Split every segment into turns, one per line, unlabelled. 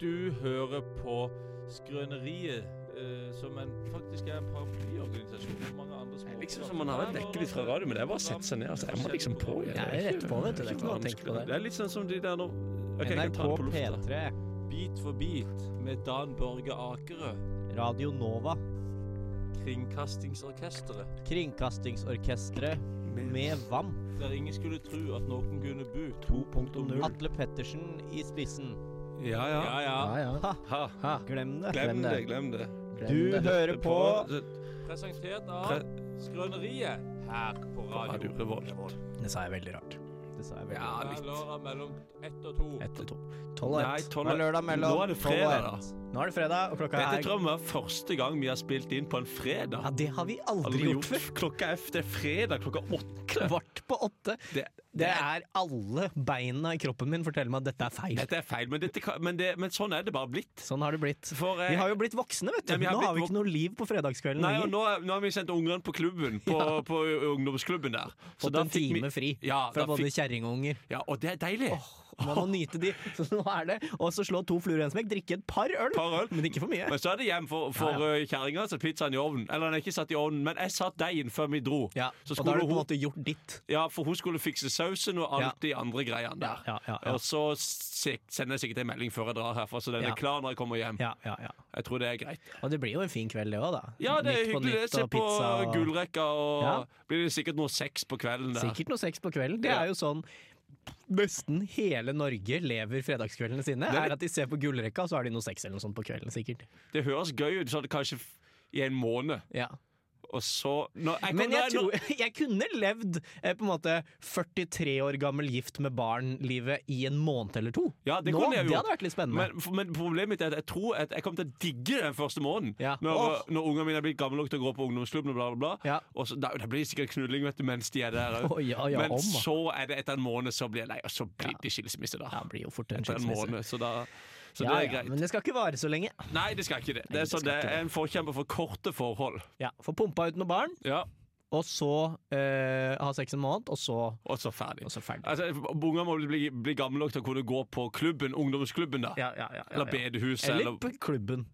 Du hører på Skrøneriet, eh, som en, faktisk er en paraplyorganisasjon for mange andre små
Liksom som man har vært vekk litt fra radio, men det er bare å sette seg ned. Altså, jeg må liksom på igjen.
Jeg er rett på, vet du. Det er ikke bare å tenke på det.
Det er litt sånn som de der nå Ok, jeg kan ta
NRK
det på lufta.
P3,
Bit for bit med Dan Børge Akerø,
Radio Nova,
Kringkastingsorkesteret.
Kringkastingsorkestret med VAM,
Der ingen skulle tro at noen kunne bo.
2.0.
Atle Pettersen i spissen.
Ja, ja.
Ja, ja.
Ja, ja.
Ha,
Ha.
Ha,
glem det.
Glem det, glem det.
glem
Du
det.
hører på
Presentert av Skrøneriet her på Radio
Radio Revolt.
Det sa jeg veldig rart.
Det sa jeg vel.
Ja,
Hver
litt.
lørdag mellom ett og to.
Ett og to.
Nei,
Tolv og ett.
tolv
Hver lørdag mellom
Nå er det
tolv og
fredag,
ett.
da.
Nå er det fredag, og klokka
Dette
er
tror jeg var første gang vi har spilt inn på en fredag.
Ja, det har vi aldri
Aldri
gjort før.
Klokka er det er fredag klokka åtte.
Kvart på åtte.
Det,
Det er alle beina i kroppen min forteller meg at dette er feil.
dette er feil, men, dette, kan- men, det, men sånn er det bare blitt.
Sånn har det blitt.
For, eh,
Vi har jo blitt voksne, vet du.
Ja, vi har
Nå har vi
blitt
ikke noe liv på fredagskvelden
Nei, og
lenger.
nå, er- nå har vi sendt ungene på klubben, på, på ungdomsklubben der. Så
Fått
da
en
fikk vi-
time fri
Ja,
fra
da
både
fikk-
kjerring og unger.
ja, og det er deilig.
Man må nyte de. Så nå er det Og så slå to fluer i en smekk, drikke et par øl,
Par øl.
men ikke for mye.
Men så er det hjem for, for
Ja,
uh, kjerringa, så er pizzaen i ovnen. Eller den er ikke satt i ovnen, men jeg satt deigen før vi dro.
Ja,
Så
og da har
skulle
du på en
hun,
måte gjort ditt.
ja, for hun skulle fikse sausen og alt de andre greiene der.
Ja, ja, ja.
Og så se- sender jeg sikkert en melding før jeg drar herfra, så den
Ja.
er klar når jeg kommer hjem.
Ja, ja, ja.
Jeg tror det er greit.
Og det blir jo en fin kveld, det òg, da.
Ja, det er
Nytt på
hyggelig. det.
nytt
Se
og
på
pizza og-
gullrekka, og
Ja.
blir det sikkert noe sex på kvelden der.
Sikkert noe sex på kvelden. Det
Ja.
er jo sånn Nesten hele Norge lever fredagskveldene sine.
Det er-
Er at De ser på gullrekka, og så har de noe sex eller noe sånt på kvelden. sikkert
Det høres gøy ut sånn kanskje f- i en måned,
ja.
og så når, jeg,
Men jeg,
når-
tror, jeg kunne levd eh, på en måte 43 år gammel gift med barn-livet i en måned eller to.
Ja, det
Nå,
kunne jeg
det
gjort.
hadde vært litt spennende.
Men, men problemet mitt er at jeg tror at jeg kommer til å digge den første måneden.
Ja.
Når,
Åh.
når ungene mine er blitt gamle nok til å gå på ungdomsklubben og bla, bla, bla.
Ja.
Og så, da, det blir sikkert knulling vet du, mens de er der òg.
Å, ja, ja,
men
om, da.
så er det etter en måned så blir jeg lei, og så blir det skilsmisse, da.
ja, det blir jo fort en
Etter en
skilsmisse.
måned, så da så
Ja,
det er
ja,
greit.
men det skal ikke vare så lenge.
Nei, det skal ikke det. Det
det
er, sånn,
skal
det
ikke
er en forkjemper for korte forhold.
Ja, Få pumpa ut noen barn,
Ja,
og så eh, ha sex en måned, og så,
Og så ferdig.
og så ferdig.
Altså, Unger må bli, bli gamle nok til å kunne gå på klubben, ungdomsklubben, da.
Ja, ja, ja, ja, ja.
Eller bedehuset, eller,
Eller på klubben,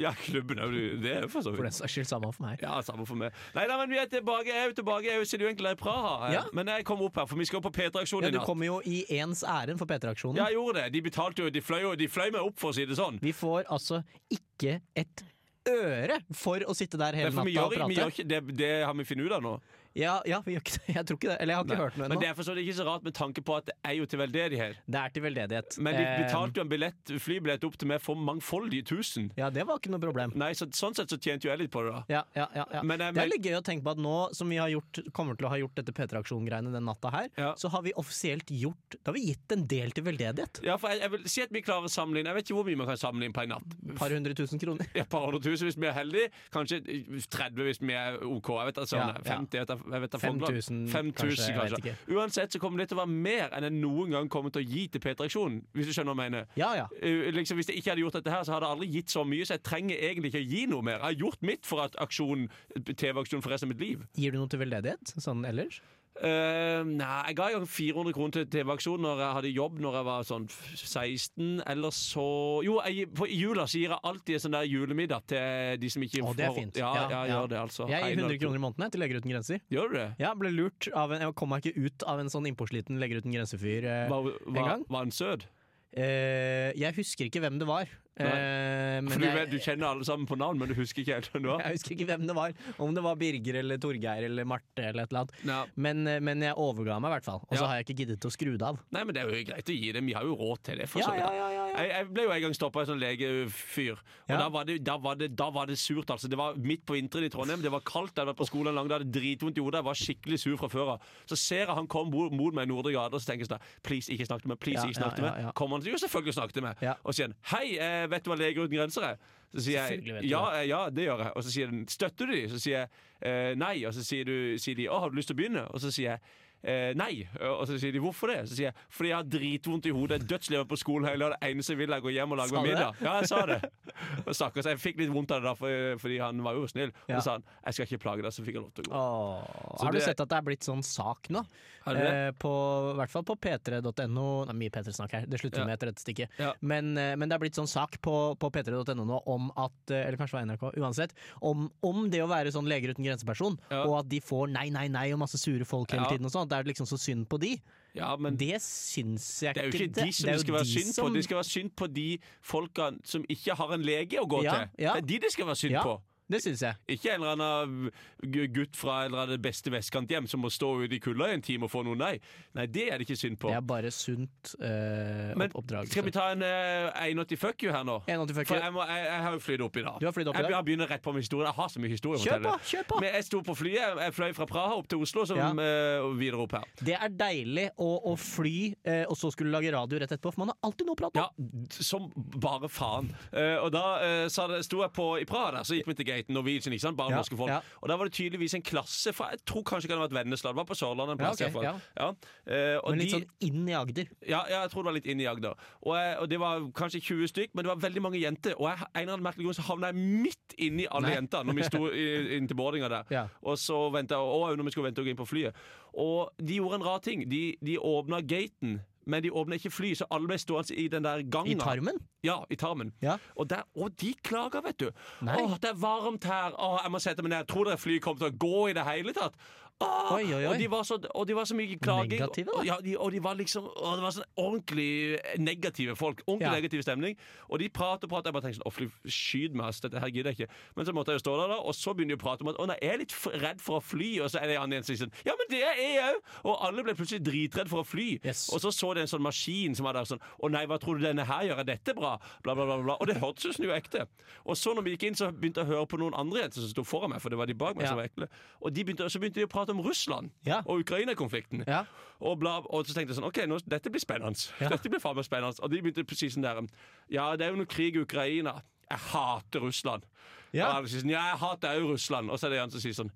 Ja, klubben er jo Det er jo for så
for
vidt.
den saks skyld. Samme for meg.
Ja, samme for meg. Nei, nei, men vi er tilbake. Jeg er jo tilbake. Jeg er jo sitter jo egentlig i Praha. jeg.
Ja.
Men jeg kom opp her, for vi skal jo på P3-aksjon
Ja,
i
du
natt.
kommer jo i ens ærend for P3-aksjonen.
Ja, jeg gjorde det. De betalte jo, de fløy jo, de fløy meg opp, for å si det sånn.
Vi får altså ikke et øre for å sitte der hele
Men for vi
natta og
gjør, vi
prate.
gjør ikke, det, det har vi funnet ut av nå.
Ja, ja, vi gjør ikke det. Jeg tror ikke det. Eller jeg har ikke hørt noe
Men det
ennå. Det,
er for så vidt ikke så rart med tanke på at det er jo til veldedighet.
er til veldedighet.
Men de
Eh,
betalte jo en billett, flybillett opp til meg for mangfoldige tusen.
Ja, det var ikke noe problem.
Nei, så, sånn sett så tjente jo jeg litt på det, da.
Ja, ja, ja, ja.
Men, eh,
det
men-
er litt gøy å tenke på at nå som vi har gjort, kommer til å ha gjort dette P3-aksjon-greiene den natta her,
Ja.
så har vi offisielt gjort Da har vi gitt en del til veldedighet.
Ja, for jeg, jeg vil si at vi klarer å samle inn Jeg vet ikke hvor mye man kan samle inn på en natt.
Et par hundre tusen kroner.
Et par hundre tusen hvis vi er heldige. Kanskje 30 hvis vi er OK. Jeg vet da
Ja,
sånn,
ja.
50, jeg vet da- jeg vet da
Fem
faen blant.
tusen,
Fem
kanskje,
tusen,
jeg
kanskje.
vet
Uansett så kommer det til å være mer enn jeg noen gang kommer til å gi til P3aksjonen, hvis du skjønner hva jeg mener.
Ja ja.
Uh, liksom, hvis jeg ikke hadde gjort dette her, så hadde jeg aldri gitt så mye, så jeg trenger egentlig ikke å gi noe mer. Jeg har gjort mitt for at aksjonen, TV-aksjonen for resten av mitt liv.
Gir du noe til veldedighet sånn ellers?
Eh, nei, jeg ga jo 400 kroner til TV-aksjonen når jeg hadde jobb Når jeg var sånn 16. Eller så Jo, jeg, på, i jula så gir jeg alltid en sånn der julemiddag til de som ikke
Å, det er fint.
Ja,
Ja,
jeg
ja.
gjør det, altså.
Jeg
En
gir
eller
100
to.
kroner i måneden jeg, til Leger uten grenser.
Gjør du det?
Ja, ble lurt av en, Jeg kom meg ikke ut av en sånn innpåsliten Legger uten grenser-fyr eh,
Var,
en
var,
gang.
var han søt?
Eh, jeg husker ikke hvem det var. Eh, men
For du,
jeg,
vet- du kjenner alle sammen på navn, men du husker ikke helt hvem det var?
jeg husker ikke hvem det var. Om det var Birger eller Torgeir eller Marte eller et eller annet.
Ja.
Men, eh, men jeg overga meg i hvert fall. Og så
Ja.
har jeg ikke giddet å skru det av.
Nei, men det er jo greit å gi dem. Vi har jo råd til det. For
Ja,
så vidt.
ja, ja, ja, ja.
Jeg, jeg ble jo en gang stoppa av en sånn legefyr. Og
Ja.
da, var det, da, var det, da var det surt, altså. Det var midt på vinteren i Trondheim, det var kaldt, jeg hadde vært på skolen en lang dag, jeg hadde dritvondt i hodet, jeg var skikkelig sur fra før av. Så ser jeg han kom mot mot meg i Nordre gate, og så tenker jeg sånn Please, ikke snakk til meg. Please,
Ja,
ikke snakk til
ja,
meg.
ja, ja.
Kommer han til Jo, selvfølgelig snakk til meg.
Ja.
Og sier han Hei, eh, vet du hva Leger uten grenser er? Så sier jeg
Selvfølgelig vet du
ja, eh, ja, det gjør jeg. Og så sier den støtter du de? Så sier jeg eh, nei. Og så sier, du, sier de å, har du lyst til å begynne? Og så sier jeg eh, nei. Og så sier de hvorfor det? Så sier jeg fordi jeg har dritvondt i hodet, dødslever på skolen hele dagen, det eneste jeg vil er å gå hjem og lage
Sa
meg
du det?
middag. Ja, jeg sa det. Og stakkars, jeg fikk litt vondt av det da, for, fordi han var jo snill. Og
Ja.
så sa han jeg skal ikke plage deg, så fikk han lov til å gå.
Åh,
Så
har du
det-
sett at det er blitt sånn sak nå?
Er det det?
Eh, på, I hvert fall på p3.no. Det er mye P3-snakk her, det slutter
Ja.
vi med etter dette stikket.
Ja.
Men, eh, men det er blitt sånn sak på, på p3.no nå om at eh, Eller kanskje det var NRK, uansett. Om, om det å være sånn Leger uten grenseperson,
Ja.
og at de får nei, nei, nei og masse sure folk hele
Ja.
tiden og sånn. at Det er liksom så synd på de.
Ja, men
det syns jeg
Det er jo ikke de som
er
det,
jo
skal være
de
synd på.
som-
Det skal være synd på de folka som ikke har en lege å gå
Ja,
til.
ja.
Det er de det skal være synd
Ja.
på.
Det syns jeg.
Ikke en eller annen eh, gu- gutt fra en eller annen beste vestkanthjem som må stå ute i kulda i en time og få noe nei. Nei, det er det ikke synd på.
Det er bare sunt eh,
Men
opp oppdragelse.
Skal vi ta en eh, 81 fuck you her nå?
En åtti
For
fucker.
jeg, må, jeg, jeg har jo flydd opp i dag.
Du har flydd opp i dag?
Jeg begynner rett på med historie. Jeg har så mye historie å
Kjør på!
fortelle.
Kjør på!
Men jeg sto på flyet. Jeg- Jeg fløy fra Praha opp til Oslo som,
Ja.
eh, og videre opp her.
Det er deilig å, å fly, eh, og så skulle lage radio rett etterpå, for man har alltid noe å prate om.
Ja, som bare faen. Eh, og da eh, sa det, sto jeg på i Praha der, så gikk vi til gaten Norwegian, ikke sant? bare
Ja,
norske folk.
ja.
Og da var det tydeligvis en klasse fra Jeg tror kanskje det kan ha vært Vennesla. Det var på Sørlandet en
Ja,
plass.
ok,
i hvert fall.
ja.
Ja. Eh, og
Men litt
de-
sånn inn i Agder.
ja, ja, jeg tror det var litt inn i Agder. Og, jeg- og det var kanskje 20 stykk, men det var veldig mange jenter. Og jeg, en eller annen merkelig grunn så havna jeg midt inni alle
Nei.
jentene når vi sto i- inn til boardinga der.
Ja.
Og så ventet jeg, og når vi skulle vente og gå inn på flyet. Og de gjorde en rar ting. De, de åpna gaten. Men de åpna ikke fly, så alle ble stående i den der gangen.
I tarmen.
Ja, i tarmen.
Ja.
Og, der, og de klager, vet du.
Nei.
Åh, det er varmt her. Åh, jeg må sette meg ned. Tror dere flyet kommer til å gå i det hele tatt? Åh,
Oi, oi, oi.
Og, de var så, og de var så mye klaging.
Negative, da.
Og, ja, de, og de var liksom åh, Det var sånn ordentlig negative folk. Ordentlig
Ja.
negativ stemning. Og de prater og prater. Jeg bare tenker sånn Å, fly, skyt meg, ass. Dette her gidder jeg ikke. Men så måtte jeg jo stå der, da. Og så begynner de å prate om at Å, nei, jeg er litt f- redd for å fly. Og så er det en annen som sier sånn Ja, men det er jeg òg! Og alle ble plutselig dritredd for å fly.
Yes.
Og så så de en sånn maskin som var der sånn Å nei, hva tror du denne her gjør? Er dette bra? Bla, bla, bla. bla. Og det hørtes jo snuekte. Og så når vi gikk inn, så begynte jeg å høre på noen andre jenter som sto foran meg, for det var de bak meg
Ja.
som var ekle. Og de begynte, så begynte de å prate om Russland
Ja.
og Ukraina-konflikten.
Ja.
Og, bla, og så tenkte jeg sånn OK, nå, dette blir spennende. Dette blir faen meg spennende. Og de begynte precis sånn der Ja, det er jo noe krig i Ukraina. Jeg hater Russland.
Ja.
Og alle sier sånn Ja, jeg hater òg Russland. Og så er det en som sier sånn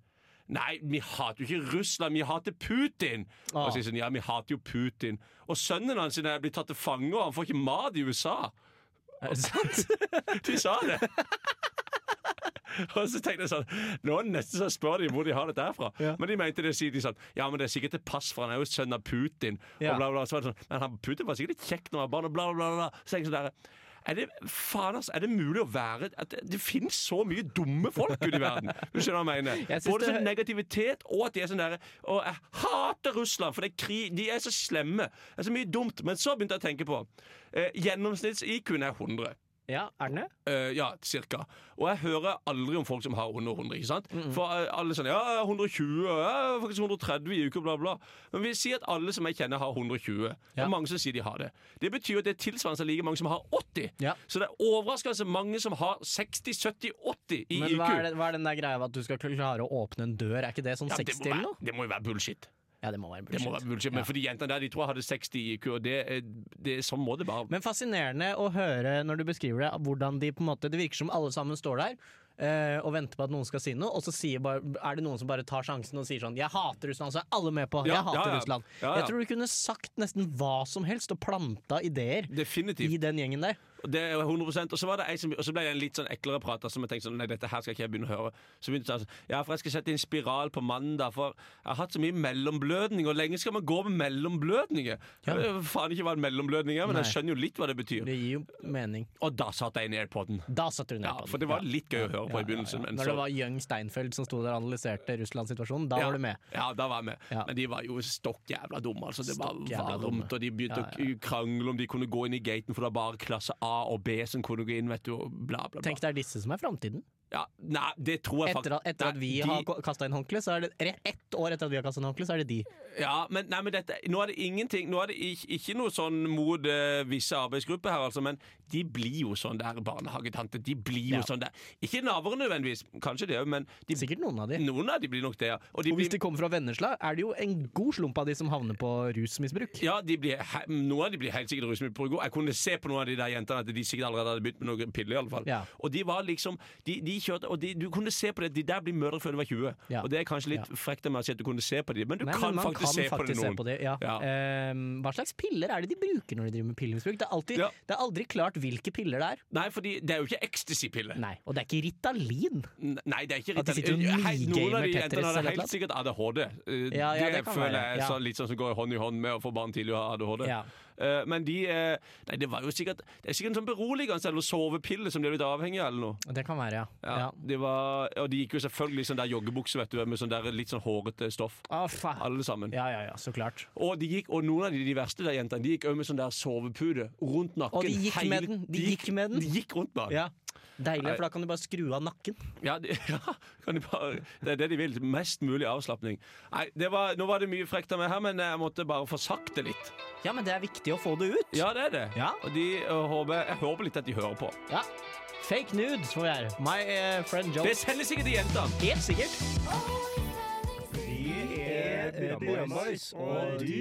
Nei, vi hater jo ikke Russland, vi hater Putin! Og
Ah.
så sier sånn, ja, vi hater jo Putin. Og sønnen hans er blitt tatt til fange, og han får ikke mat i USA!
Er det sant?
De sa det! og så tenkte jeg sånn Nå er det nesten så jeg spør de hvor de har dette her fra.
Ja.
Men de mente det sier de sånn Ja, men det er sikkert et pass, for han er jo sønn av Putin.
Ja.
Og bla, bla, så var det sånn, Men han, Putin var sikkert litt kjekk når han var barn, og bla, bla, bla. bla. Så tenkte jeg sånn der, er det, faen ass, er det mulig å være at Det, det finnes så mye dumme folk ute i verden! Du skjønner hva jeg mener?
Jeg synes
Både
det-
sånn negativitet og at de er sånn derre Og jeg hater Russland, for det er krig, de er så slemme. Det er så mye dumt. Men så begynte jeg å tenke på eh, Gjennomsnitts-IQ-en er 100.
ja, er den det?
Eh, ja, cirka. Og jeg hører aldri om folk som har under 100. ikke sant? For eh, alle sånn, ja, jeg har 120, ja, faktisk 130 i uka, bla, bla. Men vi sier at alle som jeg kjenner, har 120. Det
Ja.
er mange som sier de har det. Det betyr at det er tilsvarende like mange som har 80.
Ja.
Så det er overraskende mange som har 60, 70, 80 i
Men
IQ.
hva er, det, hva er den der greia med at du skal klare å åpne en dør? Er ikke det sånn
Ja, det,
60
må
eller
være,
noe?
det må jo være bullshit.
Ja, det må være
Det
bullshit.
må være bullshit. Men
Ja.
for de jentene der, de tror jeg hadde 60 i IQ, og det, er- det, er- sånn må det bare
Men fascinerende å høre når du beskriver det, hvordan de på en måte Det virker som alle sammen står der eh, og venter på at noen skal si noe, og så sier bare, er det noen som bare tar sjansen og sier sånn 'Jeg hater Russland', så er alle med på 'Jeg
Ja,
hater
ja, ja.
Russland'.
Ja, ja.
Jeg tror du kunne sagt nesten hva som helst og planta ideer
Definitivt.
i den gjengen der.
Det er 100 Og så, var det ei som, og så ble det en litt sånn eklere prater som jeg tenkte sånn Nei, dette her skal ikke jeg begynne å høre. Så begynte jeg sånn Ja, for jeg skal sette inn spiral på mandag, for jeg har hatt så mye mellomblødning. Og lenge skal man gå med mellomblødninger? Jeg vet jo faen ikke hva en mellomblødning er, men jeg
Nei.
skjønner jo litt hva det betyr.
Det gir jo mening.
Og da satt jeg inn i airpoden.
Da satte du ned
Ja,
på den.
for det var litt gøy å høre på i
Ja,
begynnelsen.
ja.
Men
Når det
så
var Young Steinfeld som sto der og analyserte Russland-situasjonen, da
ja,
var du med.
Ja, da var jeg med.
Ja.
Men de var jo stokk jævla dumme. Altså. Det var
Stokk jævla dumme.
varmt, og de begynte
Ja, ja.
å krangle om de kunne gå inn i gaten, for det var bare klasse A og B som kunne gå inn, vet du, og bla, bla, bla.
Tenk, det er disse som er framtiden.
Ja, nei, det tror jeg
Etter,
faktisk
at- etter at vi
Nei, de-
har kasta inn håndkle, så er det re- ett år etter at vi har kasta inn håndkle, så er det de.
Ja, men, nei, men dette, nå er det ingenting Nå er det ikke, ikke noe sånn mot eh, visse arbeidsgrupper her, altså, men de blir jo sånn der barnehagetante. De blir jo
Ja.
sånn der. Ikke naboer nødvendigvis, kanskje det òg, men de,
Sikkert noen av de.
noen av de blir nok det. ja. Og de
Og hvis
blir,
de kommer fra Vennesla, er det jo en god slump av de som havner på rusmisbruk.
ja, de blir, he- noen av de blir helt sikkert rusmiddelbrukere. Jeg kunne se på noen av de der jentene at de sikkert allerede hadde begynt med noen piller. i alle fall.
Ja.
Og de var liksom, de, de kjørte, og de, du kunne se på det, de der blir mødre før de var 20.
Ja.
Og det er kanskje litt frekt av meg å si at du kunne se på dem, men du
Nei, men
kan
man
faktisk
kan
se på det
faktisk se
noen.
på det. Ja.
Ja.
Ehm, hva slags piller er det de bruker når de driver med pillemisbruk? Det er, alltid,
Ja.
det er aldri klart hvilke piller det er.
Nei, fordi det er jo ikke ecstasy-pille.
Nei, Og det er ikke Ritalin!
N- Nei, det er ikke
At de
Ritalin.
sitter og
Hei, Noen av
minigamer
de
Tetris
jentene hadde
eller
helt
noe.
sikkert ADHD. Eh,
Ja, ja,
det
det kan
føler
være,
jeg er
ja.
sånn, litt sånn som går hånd i hånd med å få barn tidlig og ha ADHD.
Ja.
Eh, Men de eh, Nei, det var jo sikkert Det er sikkert en sånn beroligende eller sovepille som de er litt avhengig av, eller noe.
Det kan være, ja.
Ja,
ja.
De var, og de gikk jo selvfølgelig i sånn der joggebukse vet du, med sånn der litt sånn hårete stoff.
Å, faen.
Alle sammen.
Ja, ja, ja, så klart.
Og, de gikk, og noen av de, de verste der jentene De gikk òg med sånn der sovepute rundt nakken.
Og de gikk
hele-
med den. De gikk med den.
De gikk rundt med den.
Ja. Deilig, for da kan du bare skru av nakken.
Ja, de, ja, kan de bare, det er det de vil. Mest mulig avslapning. Nei, det var, nå var det mye frekt av meg her, men jeg måtte bare få sagt det litt.
Ja, men det er viktig å få det ut.
Ja, det er det.
Ja.
Og de øh, håper, jeg håper litt at de hører på.
Ja. Fake nudes får vi her. My eh, friend Joe.
Det selger sikkert de jentene!
Helt sikkert.
er Bjørnboys, og du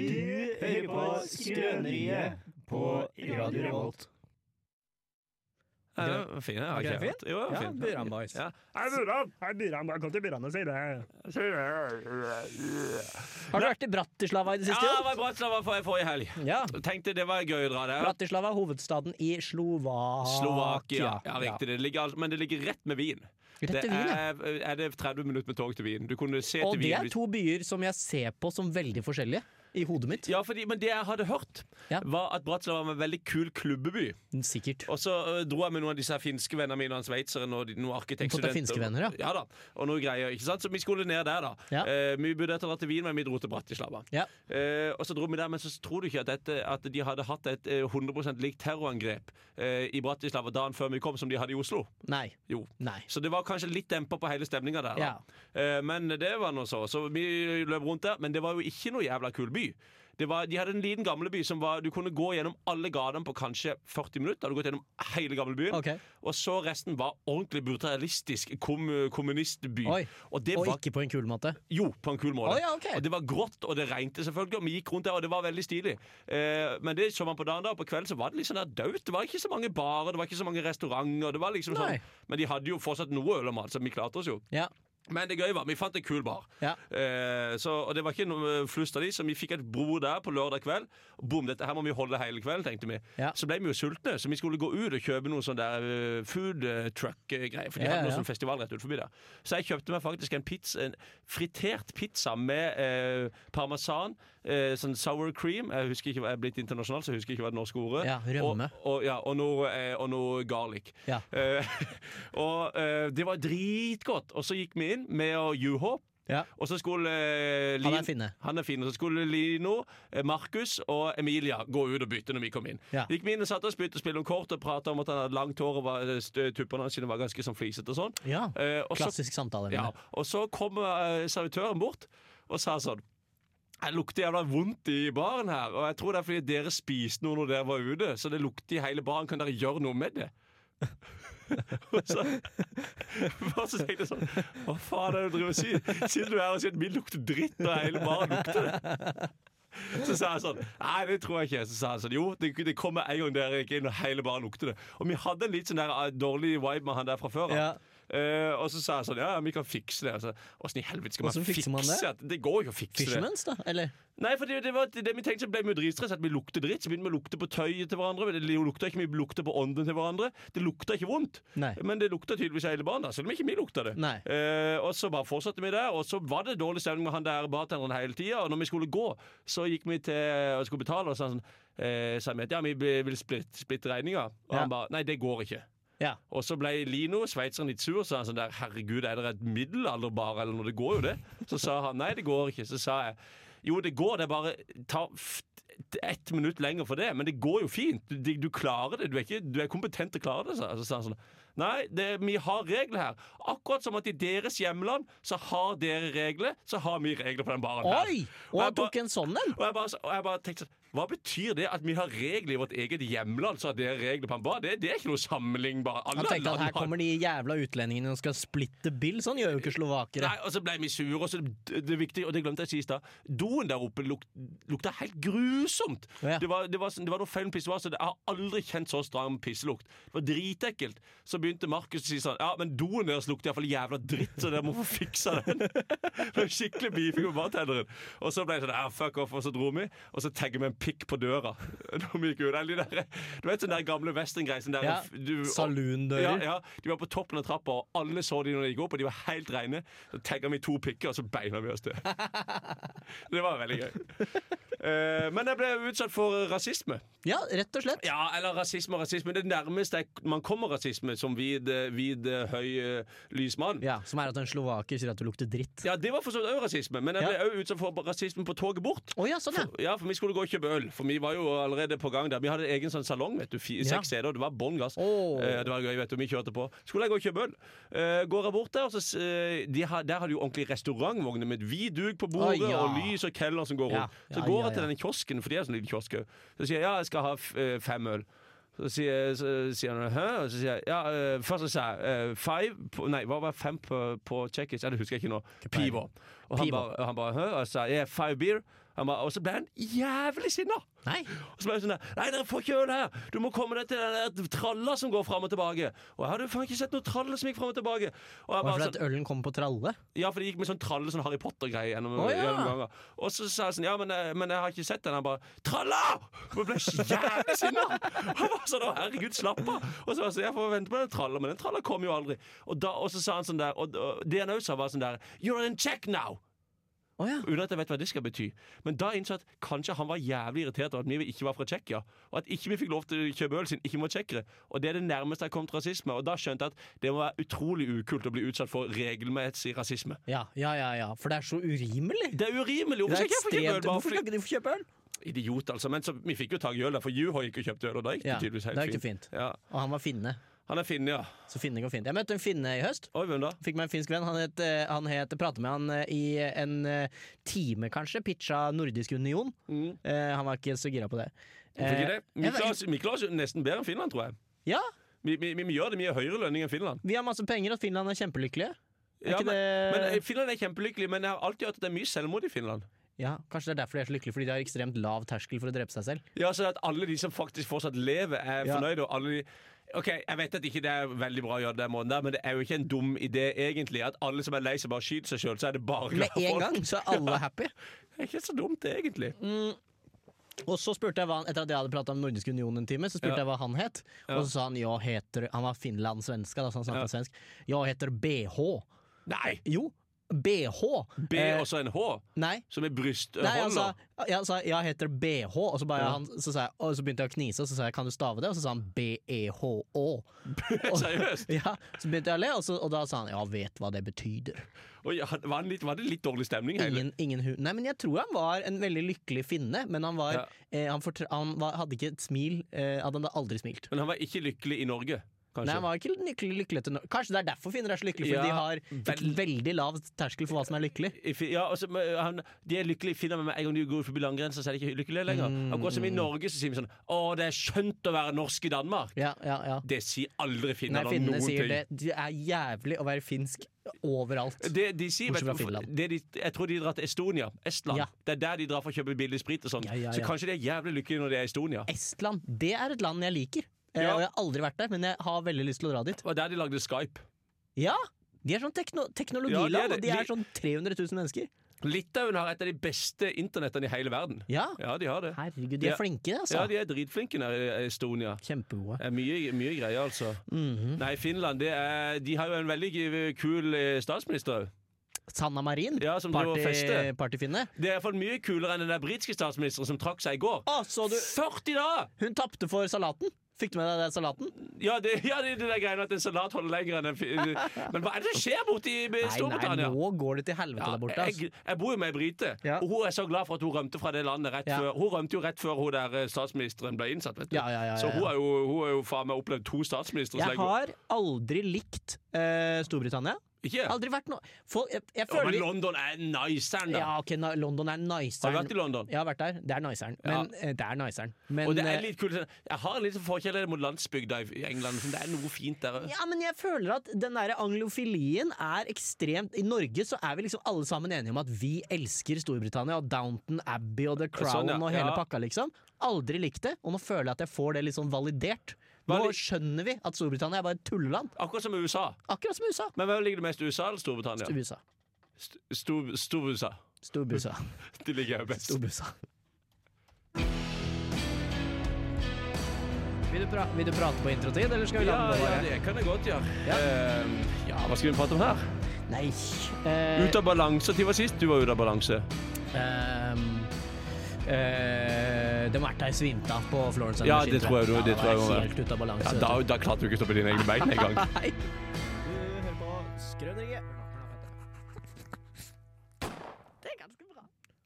hører på Skrøneriet på Radio Revolt.
Ja, det var fin, jeg har
Ok,
ikke
fin?
hørt. Jo,
Ja,
fin.
Buran Boys.
Ja.
Har du vært i Bratislava i det
Ja,
siste?
det
Joe?
var Bratislava for forrige helg.
ja.
Tenkte det var gøy å dra der.
Bratislava er hovedstaden i Slovakia.
Slovakia. Ja, riktig. Det ligger, alt- men det ligger rett med Wien.
Rett til Wien, ja.
er, er det 30 minutter med tog til Wien. Du kunne se
Og
til
det
Wien.
er to byer som jeg ser på som veldig forskjellige i hodet mitt.
Ja, fordi, men det jeg hadde hørt,
Ja.
var at Bratislava var en veldig kul klubbeby.
Mm, Sikkert.
Og så øh, dro jeg med noen av disse her finske vennene mine, og en sveitser og noen noen arkitektstudenter.
Fått deg finske venner, ja.
ja da, og noe greier, ikke sant? Så vi skulle ned der, da.
Ja.
Eh, vi burde etter å dra til Wien, men vi dro til Bratislava.
Ja.
Eh, og så dro vi der, men så tror du ikke at, dette, at de hadde hatt et eh, 100 likt terrorangrep eh, i Bratislava dagen før vi kom, som de hadde i Oslo.
Nei.
Jo.
Nei.
Så det var kanskje litt dempa på hele stemninga der. Da.
Ja.
Eh, men det var nå så. Så vi løp rundt der. Men det var jo ikke noe jævla kul by. Det var, de hadde en liten gamleby som var Du kunne gå gjennom alle gatene på kanskje 40 minutter. Da Hadde du gått gjennom hele gamlebyen.
Ok.
Og så resten var ordentlig brutalistisk kom, kommunistby.
Oi.
Og det
Og
var
ikke på en kul måte.
jo, på en kul måte.
Å, ja, ok.
Og det var grått, og det regnet selvfølgelig, og vi gikk rundt der, og det var veldig stilig. Eh, men det så man på dagen da, og på kvelden så var det litt sånn der dødt. Det var ikke så mange barer, det var ikke så mange restauranter. Det var liksom
Nei.
sånn, men de hadde jo fortsatt noe øl og mat, så vi klarte oss jo.
Ja.
Men det gøye var, vi fant en kul bar.
Ja.
Eh, så, og det var ikke noe eh, flust av de, så vi fikk et bro der på lørdag kveld. Bom, dette her må vi holde hele kvelden, tenkte vi.
Ja.
Så ble vi jo sultne, så vi skulle gå ut og kjøpe noe sånn der eh, food eh, truck-greier. For de
Ja,
hadde
ja.
noe sånn festival rett ut forbi der. Så jeg kjøpte meg faktisk en pizza, en fritert pizza med eh, parmesan, eh, sånn sour cream Jeg husker ikke, hva- jeg er blitt internasjonal, så jeg husker ikke hva det norske ordet
Ja, rømme.
Og, og, ja, og, noe, eh, og noe garlic.
Ja.
Eh, og eh, det var dritgodt. Og så gikk vi inn med og Juho.
Ja.
Og så skulle eh, Lin-
Han er finne.
Han er fin. Og så skulle Lino, eh, Markus og Emilia gå ut og bytte når vi kom inn.
Ja.
Gikk vi inn og satte oss, begynte å spille om kort og prata om at han hadde langt hår og var- eh, stø- tuppene hans sine var ganske sånn flisete og sånn.
Ja.
Eh, og så-
Klassisk samtale.
ja, og så kom eh, servitøren bort og sa sånn jeg lukter jævla vondt i baren her, og jeg tror det er fordi dere spiste noe når dere var ute. Så det lukter i hele baren. Kan dere gjøre noe med det? og så, og så tenkte jeg sånn Hva faen er det du driver og sier? Siden du er her og sier at min lukter dritt, og hele baren lukter det. Så sa jeg sånn Nei, det tror jeg ikke. Så sa han sånn Jo, det, det kommer en gang dere gikk inn, og hele baren lukter det. Og vi hadde en litt sånn der eh, dårlig vibe med han der fra før av.
Ja.
Eh, og så sa jeg sånn Ja, ja, vi kan fikse det. Altså, Åssen i helvete skal man
Hvordan fikser
fikse
man det?
at- det? går jo ikke å fikse det.
Fishermans, da? Eller?
Nei, for det, det var det vi tenkte så ble vi jo dritstress at vi lukter dritt. Så begynte vi å lukte på tøyet til hverandre. Det lukta ikke, Vi lukta på ånden til hverandre. Det lukta ikke vondt.
Nei.
Men det lukta tydeligvis hele barn, da, selv om ikke vi lukta det.
Nei.
Eh, og så bare fortsatte vi der, og så var det dårlig stemning med han der bartenderen hele tida. Og når vi skulle gå, så gikk vi til og skulle betale, og så sa han sånn eh, sa vi at ja, vi vil splitte splitt regninga. Og
Ja.
han bare Nei, det går ikke.
Ja.
Og så ble Lino, sveitseren, litt sur. Så han sånn der, herregud, er dere et middelalderbar, eller noe? Det går jo det. Så sa han nei, det går ikke. Så sa jeg jo, det går, det er bare ta f- ett minutt lenger for det. Men det går jo fint. Du, du klarer det. Du er, ikke, du er kompetent til å klare det. sa jeg. Så sa han sånn Nei, det, vi har regler her. Akkurat som at i deres hjemland så har dere regler, så har vi regler på den baren her.
Oi! Og
jeg
han
bare-
tok en sånn en!
Og jeg bare, og jeg bare tenkte sånn hva betyr det at vi har regler i vårt eget hjemland? Så har dere regler på en bar? Det, det er ikke noe sammenlignbar. Alle
Han tenkte at
land
her
har-
kommer de jævla utlendingene og skal splitte bill. Sånn gjør jo ikke slovakere.
Nei, og så ble vi sure, og så det, det er viktig, og det glemte jeg å si i stad. Doen der oppe luk, lukta helt grusomt!
Ja.
Det, var, det, var, sånn- det var noe feil med pissoar, så det- jeg har aldri kjent så stram pisselukt. Det var dritekkelt. Så begynte Markus å si sånn Ja, men doen deres lukter iallfall jævla dritt, så dere må få fiksa den. Det var skikkelig beefing med bartenderen. Og så ble jeg sånn ah, Fuck off, og så dro vi. Og så tagget vi en pikk på døra. Når vi gikk ut. Eller de der, du vet sånn der gamle western-greie? Sånn der
Ja.
du-
Saloondører.
ja, ja. De var på toppen av trappa, og alle så de når de gikk opp, og de var helt reine. Så tagga vi to pikker, og så beina vi oss til. Det var veldig gøy. Eh, men jeg ble utsatt for rasisme.
Ja, rett og slett.
Ja, eller rasisme og rasisme. Det nærmeste jeg, man kommer rasisme som hvit, eh, hvit eh, høy eh, lys mann.
Ja, Som er at en slovaker sier at du lukter dritt.
Ja, det var for så vidt òg rasisme, men jeg ble òg utsatt for rasisme på toget bort.
Å ja, sånn, ja.
For, ja, for vi skulle gå og kjøpe øl, for vi var jo allerede på gang der. Vi hadde egen sånn salong, vet du. Fi,
Ja.
Seks steder, det var bånn gass.
Åh.
Eh, det var gøy, vet du. Vi kjørte på. Skulle jeg gå og kjøpe øl? Eh, går jeg bort der, og så s- eh, de har, Der har de jo ordentlig restaurantvogner med vid duk på bordet
Å, ja.
og lys og keller som går
Ja.
rundt. Så
Ja,
går
ja,
jeg til
ja.
denne kiosken, for de har sånn liten kiosk òg. Så sier jeg ja, jeg skal ha f eh, fem øl. Så sier, så, sier han hæ? Og så sier jeg ja, eh, først så sa jeg eh, five på, Nei, hva var fem på, på tsjekkisk? Ja, det husker jeg ikke nå. Pivo. Og han
Pivo.
bare, og han bare hæ? Og jeg sa yeah, five beer. Han bare, og så ble han jævlig sinna!
Nei.
Og så ble jeg sånn der Nei, dere får ikke øl her! Du må komme deg til den der tralla som går fram og tilbake! Og jeg hadde jo faen ikke sett noen tralle som gikk fram og tilbake! Og jeg
Var det
bare
fordi
sånn,
at ølen kom på tralle?
ja, for det gikk med sånn tralle, sånn Harry Potter-greie gjennom,
Å, ja.
gjennom ganger. Og så sa jeg sånn Ja, men, eh, men jeg har ikke sett den. Han bare Tralla! Og jeg ble jævlig sinna! Og jeg var sånn Å, herregud, slapp av! Og så var jeg sånn Jeg får vente på den tralla, men den tralla kom jo aldri. Og, da, og så sa han sånn der Og, og det han også sa, var sånn der You're in check now!
Å ja.
Uten at jeg vet hva det skal bety. Men da innså jeg at kanskje han var jævlig irritert over at vi ikke var fra Tsjekkia. Og at ikke vi fikk lov til å kjøpe øl siden ikke vi var tsjekkere. Og det er det nærmeste jeg kom til rasisme. Og da skjønte jeg at det må være utrolig ukult å bli utsatt for regelmessig rasisme.
Ja, ja, ja, ja. For det er så urimelig.
Det er urimelig!
Det
Hvorfor skal
er
ikke jeg få kjøpe
ekstremt.
øl? Bare
Hvorfor
fordi...
skal ikke du få kjøpe øl?
Idiot, altså. Men så, vi fikk jo tak i øl, der, for Juho gikk og kjøpte øl, og da gikk det
Ja,
tydeligvis
da
helt
gikk det
fint. Ja.
Og han var finne.
Han er finne, ja.
Så finne går fint. Jeg møtte en finne i høst.
Oi, hvem da?
Fikk meg en finsk venn. Han het, eh, han het jeg pratet med han eh, i en eh, time, kanskje. Pitcha Nordisk Union.
Mm.
Eh, han var ikke så gira på det. Eh,
Hvorfor ikke det? Vi
jeg vet-
klarer oss- vi klarer oss jo nesten bedre enn Finland, tror jeg.
Ja,
Vi, vi, vi, vi gjør det mye høyere lønning enn Finland.
vi har masse penger, og Finland er kjempelykkelige. Er
Ja,
ikke det
Men eh, Finland er kjempelykkelig, men jeg har alltid hørt at det er mye selvmord i Finland.
Ja, Kanskje det er derfor de er så lykkelige, fordi de har ekstremt lav terskel for å drepe seg selv.
Ja, så at alle de som faktisk fortsatt lever, er
Ja.
fornøyde, og alle de Ok, Jeg vet at ikke det er veldig bra å gjøre det den måten der, men det er jo ikke en dum idé, egentlig. At alle som er lei seg, bare skyter seg sjøl, så er det bare
Med
glade
en
folk.
gang så er alle happy.
Det er ikke så dumt, det, egentlig.
Og så spurte jeg hva han, Etter at jeg hadde prata om Nordisk Union en time, så spurte
Ja.
jeg hva han het.
Ja.
Og så sa han ja, heter Han var finlandssvenska, da, så han snakket
Ja.
svensk. Ja, heter BH.
Nei!
Jo, BH.
B
Eh,
og så en H,
Nei.
som er brysthånda.
Nei, altså, han sa, jeg sa jeg heter BH, og så, bare,
Ja.
han, så, sa jeg, og så begynte jeg å knise, og så sa jeg kan du stave det? Og så sa han E BEHÅ.
Seriøst?
Ja, så begynte jeg å le, og, så, og da sa han ja, vet hva det betyder.
Oi, han- var, han litt, var det litt dårlig stemning? hele?
Ingen, ingen hu Nei, men jeg tror han var en veldig lykkelig finne, men han, var,
Ja.
eh, han, fortr- han var, hadde ikke et smil. Eh, han hadde aldri smilt.
Men han var ikke lykkelig i Norge, kanskje?
Nei, han var ikke lykkelig, lykkelig til nå. Kanskje det er derfor finner er så lykkelige,
Ja,
fordi de har et veldig lav terskel for hva som er lykkelig.
I Fi- Ja, og så, men, eh, han, de er lykkelige i Finland, men en gang de går forbi landegrensa, så er de ikke lykkelige lenger.
Mm.
Akkurat som i Norge, så sier vi sånn Å, det er skjønt å være norsk i Danmark.
Ja, ja, ja.
Det sier aldri
Nei,
finnene om
finnene
noen
sier
ting.
det. Det er jævlig å være finsk overalt.
Det de sier, vet,
Bortsett fra
du, for-
Finland.
det de, jeg tror de drar til Estonia. Estland.
Ja.
Det er der de drar for å kjøpe billig sprit og sånn.
Ja, ja,
Så
ja.
kanskje de er jævlig lykkelige når de er i Estonia.
Estland, det er et land jeg liker. Eh,
Ja.
Og jeg har aldri vært der, men jeg har veldig lyst til å dra dit.
Det var der de lagde Skype.
Ja, De er sånn tekno
Ja,
teknologiland,
de er det.
og de er
De-
sånn 300 000 mennesker.
Litauen har et av de beste internettene i hele verden.
Ja,
Ja, de har det.
Herregud, de er
Ja.
flinke, altså.
Ja, de er dritflinke der i Estonia.
Kjempegode.
Det er mye, mye greier, altså.
Mhm.
Nei, Finland det er, de har jo en veldig g- kul eh, statsminister òg.
Sanna Marin,
Ja, som driver og fester.
party, partyfinne.
Det er iallfall mye kulere enn den der britiske statsministeren som trakk seg i går.
Å, så du
40 dager!
Hun tapte for salaten! Fikk du med deg den salaten?
Ja, det, ja, det, det der greiene at en salat holder lenger enn en fi- eh, Men hva er det som skjer borte i i Storbritannia?
nå går det til helvete
Ja,
der borte. Altså.
jeg, jeg bor jo med ei brite,
Ja.
og hun er så glad for at hun rømte fra det landet rett
Ja.
før Hun rømte jo rett før hun der eh, statsministeren ble innsatt, vet du.
Ja, ja, ja, ja,
Så hun
ja.
har jo, hun har jo faen meg opplevd to statsministre. så lenge
Jeg
hun-
har aldri likt eh, Storbritannia.
Ikke?
Aldri vært noe Folk Jeg, jeg
Ja,
føler
men London er niceren, da.
Ja, ok, na- London er
Har du
niceren.
vært i London?
Jeg har vært der. Det er niceren. Men eh, det er niceren. Men,
og det
eh,
er litt kult. sånn, Jeg har litt forkjærlighet mot landsbygda i i England. men Det er noe fint der òg.
Ja, men jeg føler at den der anglofilien er ekstremt I Norge så er vi liksom alle sammen enige om at vi elsker Storbritannia og Downton Abbey og The
Sånn,
Crown
ja.
og hele
Ja.
pakka, liksom. Aldri likt det, og nå føler jeg at jeg får det litt sånn validert. Nå
Vali-
skjønner vi at Storbritannia er bare et tulleland.
Akkurat som USA.
Akkurat som USA.
Men hvem ligger det mest i USA eller Storbritannia?
Storbusa.
St- Stor- Storbusa.
Storbusa.
De ligger jo best.
Storbusa. Vil du, pra vil du prate på introtid, eller skal vi la
Ja,
den
ja,
bevare?
det kan jeg godt gjøre.
Ja.
Eh, ja, hva skal vi prate om her?
Nei. Eh,
Ut av balanse til var sist du var ute av balanse.
Ehm, eh, de Märtha svimte av på Florence and
Ja,
the
det
Machine.
tror jeg du- det
da
tror jeg
var
var-
helt ute av balanse.
Ja,
vet
da,
du.
da klarte du ikke å stå på dine egne bein engang.
Du hører på Skrøneriet.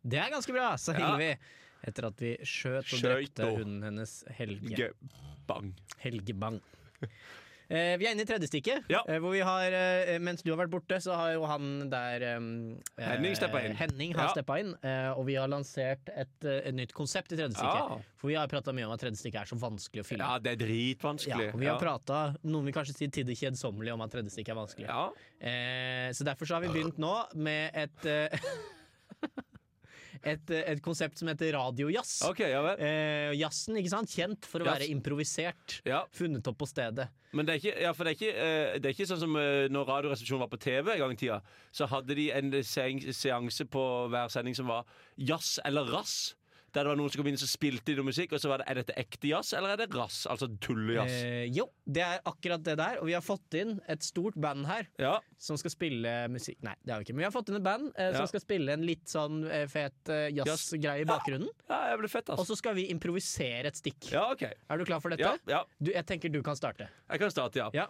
Det er ganske bra, så
Ja.
hyller vi. Etter at vi skjøt og
Skjøt
drepte
og-
hunden hennes Helge.
Ge- Bang.
Helge Bang. Eh, vi er inne i tredje stikket,
Ja.
eh, hvor vi har eh, Mens du har vært borte, så har jo han der eh,
Henning steppa inn.
Henning har
Ja.
steppa inn, eh, og vi har lansert et, eh, et nytt konsept i tredje stikket.
Ja.
For vi har prata mye om at tredje stikket er så vanskelig å fylle.
Ah. ja, det er dritvanskelig.
Ja, og vi har prata noen vil kanskje si til det kjedsommelige om at tredje stikk er vanskelig.
Ja.
Eh, så derfor så har vi begynt nå med et eh, et, eh, et konsept som heter radiojazz.
OK, ja vel.
Eh, jazzen, ikke sant? Kjent for å
Jazz.
være improvisert.
Ja,
Funnet opp på stedet.
men det er ikke, ja, for det er ikke, eh, det er ikke sånn som eh, når Radioresepsjonen var på TV en gang i tida. Så hadde de en seang- seanse på hver sending som var jazz eller rass. Der det var noen som kom inn og spilte noe musikk, og så var det er dette ekte jazz eller er det rass? Altså tullejazz.
Eh, jo, det er akkurat det der. Og vi har fått inn et stort band her
Ja.
som skal spille musikk Nei, det har vi ikke, men vi har fått inn et band eh,
Ja.
som skal spille en litt sånn eh, fet eh, jazzgreie i bakgrunnen.
ja, det blir fett,
Og
altså.
så skal vi improvisere et stikk.
Ja, OK.
Er du klar for dette?
Ja, ja.
Du, jeg tenker du kan starte.
Jeg kan starte, ja.
Ja.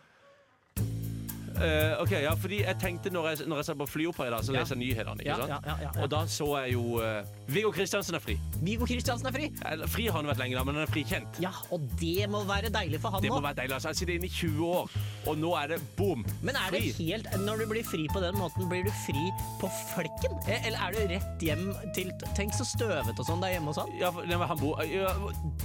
Eh, ok, ja, fordi jeg tenkte Når jeg, når jeg satt på flyopera i dag, så
Ja.
leste jeg nyhetene. ikke
Ja,
sant?
ja, ja, ja.
Og da så jeg jo eh, Viggo Kristiansen er fri.
Viggo Kristiansen er fri!
Eller, fri har han vært lenge, da, men han er frikjent.
Ja, og det må være deilig for han
Det må
nå.
være deilig. altså. Han sitter inne i 20 år, og nå er det boom!
Men er det
fri.
helt Når du blir fri på den måten, blir du fri på flekken? Eh, Eller er du rett hjem til Tenk så støvete og sånn der hjemme hos han.
Ja, for- nei, men han bor ja,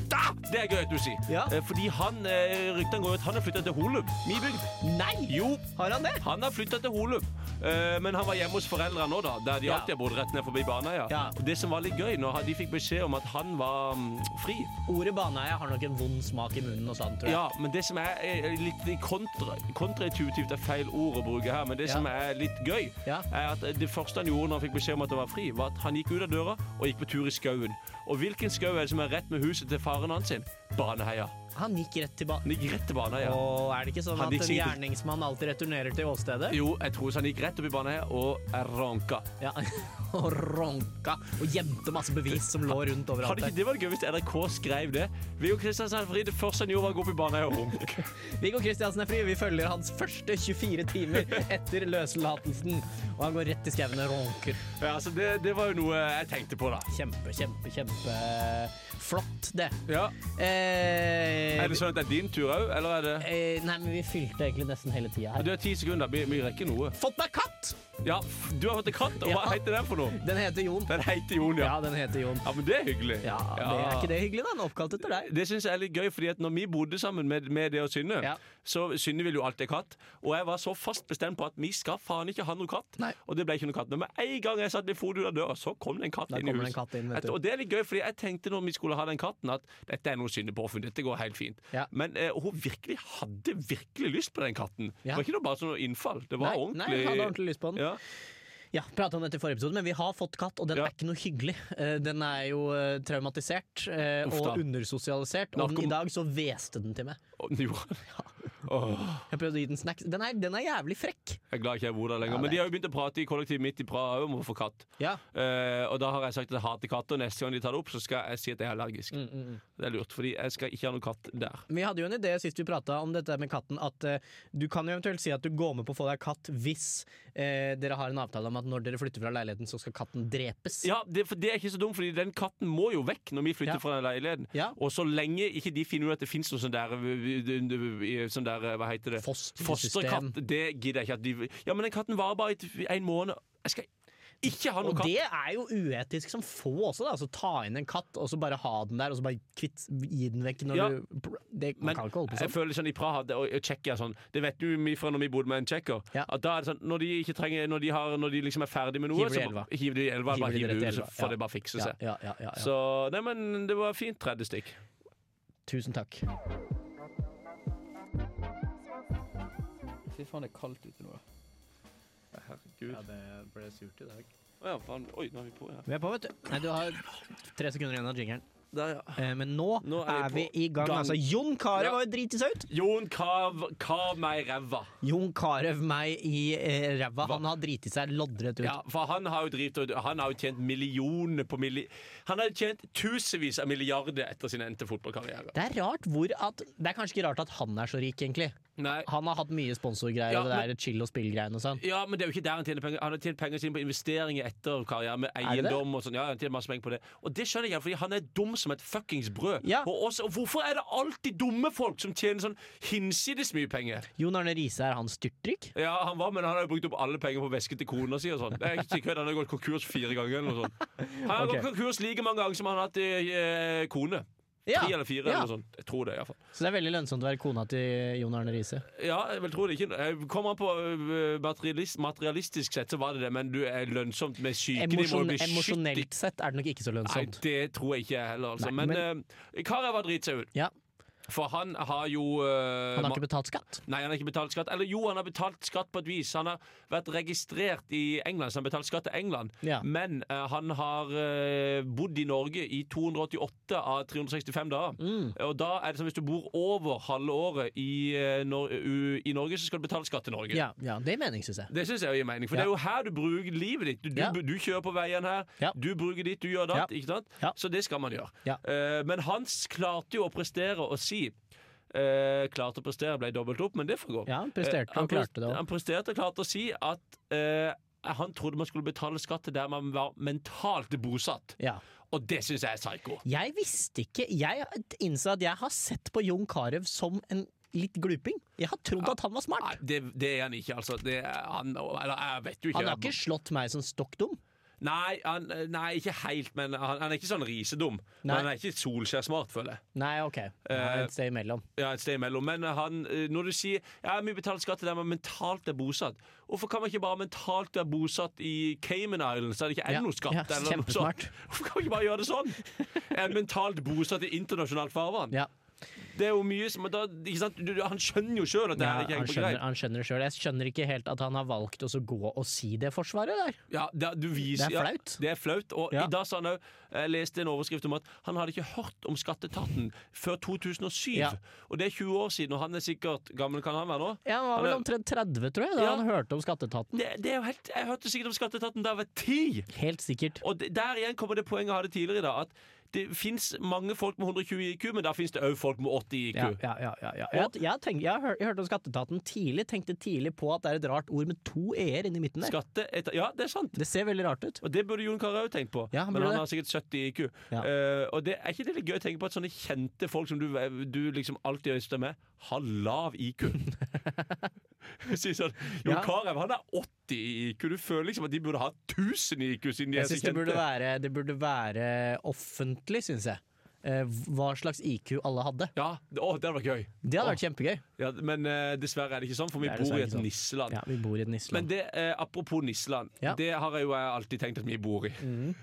da! Det er gøy at du sier.
Ja.
Eh, Fordi han, eh, ryktene går jo at han har flytta til Holum. Min bygd.
Nei!
Jo,
Har han det?
han har flytta til Holum. Eh, Men han var hjemme hos foreldrene nå, da. Der de
Ja.
alltid har bodd rett ned forbi Baneheia.
Ja.
Og Det som var litt gøy, når han- de fikk beskjed om at han var mm, fri
Ordet baneheia har nok en vond smak i munnen hos han, tror jeg.
Ja, men det som er eh, litt kontra, kontraintuitivt er feil ord å bruke her, men det
Ja.
som er litt gøy,
Ja.
er at det første han gjorde når han fikk beskjed om at han var fri, var at han gikk ut av døra og gikk på tur i skauen. Og hvilken skau er det som er rett med huset til faren hans sin? Baneheia.
Han gikk rett til banen.
Han gikk rett til Baneheia.
Og er det ikke sånn
Han
at
gikk
en
sikkert-
gjerningsmann alltid returnerer til åstedet?
Jo, jeg tror så han gikk rett opp i Baneheia og ranka.
Ja. Og ronka og gjemte masse bevis som lå
Hadde
rundt overalt
ikke
der.
det vært gøy hvis NRK skrev det? Viggo Kristiansen hadde fri. Det første han gjorde, var å gå opp i Baneheia og runke.
Viggo Kristiansen er fri. Vi følger hans første 24 timer etter løslatelsen. Og han går rett i skauen og ronker.
Ja, så det, det var jo noe jeg tenkte på, da.
Kjempe, kjempe, kjempe flott, det.
Ja.
Eh,
Er det sånn at det er din tur òg, eller er det
eh, nei, men vi fylte egentlig nesten hele tida her.
Du har ti sekunder. Vi, vi rekker noe.
Fått meg katt!
Ja, f- du har fått en katt, og hva
Ja.
heter den for noe?
Den heter Jon.
Den heter Jon, ja.
Ja, den heter Jon.
Ja, men det er hyggelig.
Ja, det Er ikke det hyggelig, da? Den er oppkalt etter deg.
Det syns jeg er litt gøy, fordi at når vi bodde sammen med, med det og Synne,
Ja.
så Synne ville jo alltid ha katt, og jeg var så fast bestemt på at vi skal faen ikke ha noe katt.
Nei.
Og det ble ikke noe katt. Men med en gang jeg satte foten ut av døra, så kom det en katt
Da
inn i
kommer det en
huset.
katt inn, vet
Et-
du.
og det er litt gøy, fordi jeg tenkte når vi skulle ha den katten, at dette er noe Synne påfunnet, dette går helt fint.
Ja.
Men eh, hun virkelig hadde virkelig lyst på den katten.
Ja.
Det var ikke noe bare sånn innfall. Det var
Nei, nei,
ordentlig
jeg hadde ordentlig lyst på den.
Ja.
Ja, pratet om dette i forrige episode, men vi har fått katt, og den
Ja.
er ikke noe hyggelig. Eh, Den er jo eh, traumatisert eh,
Uff da.
og undersosialisert, og
Narkom-
den, i dag så hveste den til meg.
Og, jo. Åh.
Jeg prøvde å gi den snacks. Den er, den er jævlig frekk.
Jeg er glad ikke jeg bor der lenger.
Ja,
Men
det
de
er
har jo begynt å prate i kollektivet mitt i Praha om å få katt.
Ja.
Eh, og da har jeg sagt at jeg hater katter, og neste gang de tar det opp, så skal jeg si at jeg er allergisk.
Mm.
Det er lurt, fordi jeg skal ikke ha noen katt der.
Vi hadde jo en idé sist vi prata om dette med katten, at eh, du kan jo eventuelt si at du går med på å få deg katt hvis eh, dere har en avtale om at når dere flytter fra leiligheten, så skal katten drepes.
Ja, det, for det er ikke så dumt, fordi den katten må jo vekk når vi flytter
Ja.
fra den leiligheten.
Ja.
Og så lenge ikke de finner ut at det fins noe sånn der, sånn der der, eh, hva heter det?
Fostersystem.
Fosterkatt. Det gidder jeg ikke at de Ja, men den katten varer bare i en måned. Jeg skal ikke ha noen
Og
katt.
det er jo uetisk som få også, da. Altså, ta inn en katt, og så bare ha den der, og så bare kvitt, gi den vekk når
Ja.
du det, Man
Men
kan ikke holde på
jeg
sånn.
føler sånn i Praha det- og, og Tsjekkia sånn Det vet du mye fra når vi bodde med en tsjekker.
Ja.
At da er det sånn Når de, ikke trenger, når de, har, når de liksom er ferdig med noe,
Hiver de i
så
elva.
bare- hiver de i elva.
Hiver
Bare
de
hiver
rett i
de ut, så
elva,
får
ja.
det bare fikse
Ja,
seg.
ja, ja, ja, ja.
Så nei, men det var fint 30 stikk.
Tusen takk.
Fy faen, det er kaldt ute nå. da.
Herregud.
det ble surt i dag.
Å ja, faen. Oi, nå er vi på, ja.
Vi er på, vet du. Nei, du har tre sekunder igjen av jingeren.
Der, ja.
Eh, men nå,
Nå
er,
er vi
vi i gang.
gang.
Altså, Jon Carew
Ja.
var jo driti seg ut!
Jon, kav, kav meg i ræva.
Jon Carew meg i eh, ræva. Han har driti seg loddrett ut.
Ja, for han har jo drivet og Han har jo tjent millioner på milli... Han har jo tjent tusenvis av milliarder etter sin endte fotballkarriere.
Det er rart hvor at Det er kanskje ikke rart at han er så rik, egentlig.
Nei.
Han har hatt mye sponsorgreier
Ja,
og det
men-
der chill og spill-greiene og sånn.
Ja, men det er jo ikke der han tjener penger. Han har tjent penger sine på investeringer etter karriere, med
Er det det?
eiendom og sånn. Ja, han tjener masse penger på det. Og det skjønner jeg, fordi han er dum som et fuckings brød.
Ja.
Og, også, og hvorfor er det alltid dumme folk som tjener sånn hinsides mye penger?
Jon Arne Riise, er han styrtrik?
Ja, han var, men han har jo brukt opp alle penger på vesken til kona si og sånn. Det er ikke kødd, han har gått konkurs fire ganger eller noe sånt. Han har
Ok.
gått konkurs like mange ganger som han har hatt eh, kone.
Ja.
Tre eller fire
Ja.
eller noe sånt. Jeg tror det, iallfall.
Så det er veldig lønnsomt å være kona til Jon Arne Riise.
Ja, jeg vil tro det ikke. Jeg Kommer an på eh, materialist, materialistisk sett, så var det det, men du er lønnsomt med syke. De må jo
Emosjon,
bli skitt i
emosjonelt sett er det nok ikke så
Nei,
lønnsomt.
det tror jeg ikke jeg heller, altså.
Nei,
men eh, Karev har driti seg ut.
Ja.
For han har jo eh,
Han
ma-
har ikke betalt skatt.
Nei, han har ikke betalt skatt. Eller jo, han har betalt skatt på et vis. Han har vært registrert i England, så han har betalt skatt til England.
Ja.
Men eh, han har eh, bodd i Norge i 288 av 365 dager.
Mm.
Og da er det sånn hvis du bor over halve året i, eh, Nor u i Norge, så skal du betale skatt til Norge.
Ja, ja, det er mening, syns jeg.
Det syns jeg gir mening, for det
Ja.
er jo her du bruker livet ditt. Du, du,
Ja.
du kjører på veien her,
Ja.
du bruker ditt, du gjør datt. Ikke sant?
Ja.
Så det skal man gjøre.
Ja.
Eh, men Hans klarte jo å prestere og si eh, Klarte å prestere, ble dobbelt opp, men det får gå.
Ja, han presterte
Eh, han
og klarte det
pres-
òg.
Han presterte og klarte å si at eh, han trodde man skulle betale skatt til der man var mentalt bosatt.
Ja.
Og det syns jeg er psyko.
Jeg visste ikke Jeg innså at jeg har sett på Jon Carew som en litt gluping. Jeg har trodd at han var
Nei,
smart.
det, det er han ikke, altså. Det er han, eller jeg vet jo ikke.
Han har ikke slått meg som stokk dum.
Nei, han, nei, ikke helt, men han, han er ikke sånn risedum. Men
Nei.
han er ikke Solskjær-smart, føler jeg.
Nei, ok. Det
Eh,
er Et sted imellom.
Ja, et sted imellom. Men han, eh, når du sier ja, vi betaler skatt til der man mentalt er bosatt Hvorfor kan man ikke bare mentalt være bosatt i Cayman Islands? Er det ikke
Ja,
ennå skatt?
ja,
eller noe
kjempesmart.
sånt? Hvorfor kan man ikke bare gjøre det sånn? Jeg er mentalt bosatt i internasjonalt farvann.
Ja,
Det er jo mye som da, ikke sant? Du, du, Han skjønner jo sjøl at det
ja
her ikke
han
henger på
skjønner,
greip.
han skjønner det sjøl. Jeg skjønner ikke helt at han har valgt å så gå og si det forsvaret der.
Ja, det, du viser,
Det er flaut.
Ja, det er flaut. Og
Ja.
i dag sa han òg Jeg leste en overskrift om at han hadde ikke hørt om Skatteetaten før 2007.
Ja.
Og det er 20 år siden, og han er sikkert gammel kan han være nå?
Ja, Han var vel
Han er-
omtrent 30, tror jeg, da
Ja.
han hørte om Skatteetaten.
Det, det er jo helt, jeg hørte sikkert om Skatteetaten da jeg var ti!
Helt sikkert.
Og det, der igjen kommer det poenget jeg hadde tidligere i dag, at det fins mange folk med 120 IQ, men der fins det òg folk med 80 IQ.
Ja, ja, ja, ja, ja. Jeg, jeg, tenk, jeg, hør, jeg hørte om Skatteetaten tidlig, tenkte tidlig på at det er et rart ord med to e-er inni midten der.
Skatteeta- ja, det er sant.
Det ser veldig rart ut.
Og det burde Jon Carew tenkt på,
Ja, han
men
burde
han
det.
har sikkert 70 IQ.
Ja.
Eh, og det, er ikke det litt gøy å tenke på at sånne kjente folk som du, du liksom alltid øyster med, har lav IQ? Si sånn, Jon
Ja.
Carew han har 80 i IQ. Du føler liksom at de burde ha 1000 i IQ, siden de
Jeg
er så
synes det burde
kjente.
være, det burde være offentlig, syns jeg. Eh, hva slags IQ alle hadde.
Ja, det- å, det hadde vært gøy.
Det hadde vært kjempegøy.
Ja, men eh, dessverre er det ikke sånn, for vi
Det er
bor i
dessverre
et
ikke sånn.
nisseland.
Ja, Vi bor i et
Men
nisseland.
det, eh, apropos nisseland,
Ja. Mhm.
det har jeg jo eh, alltid tenkt at vi bor i.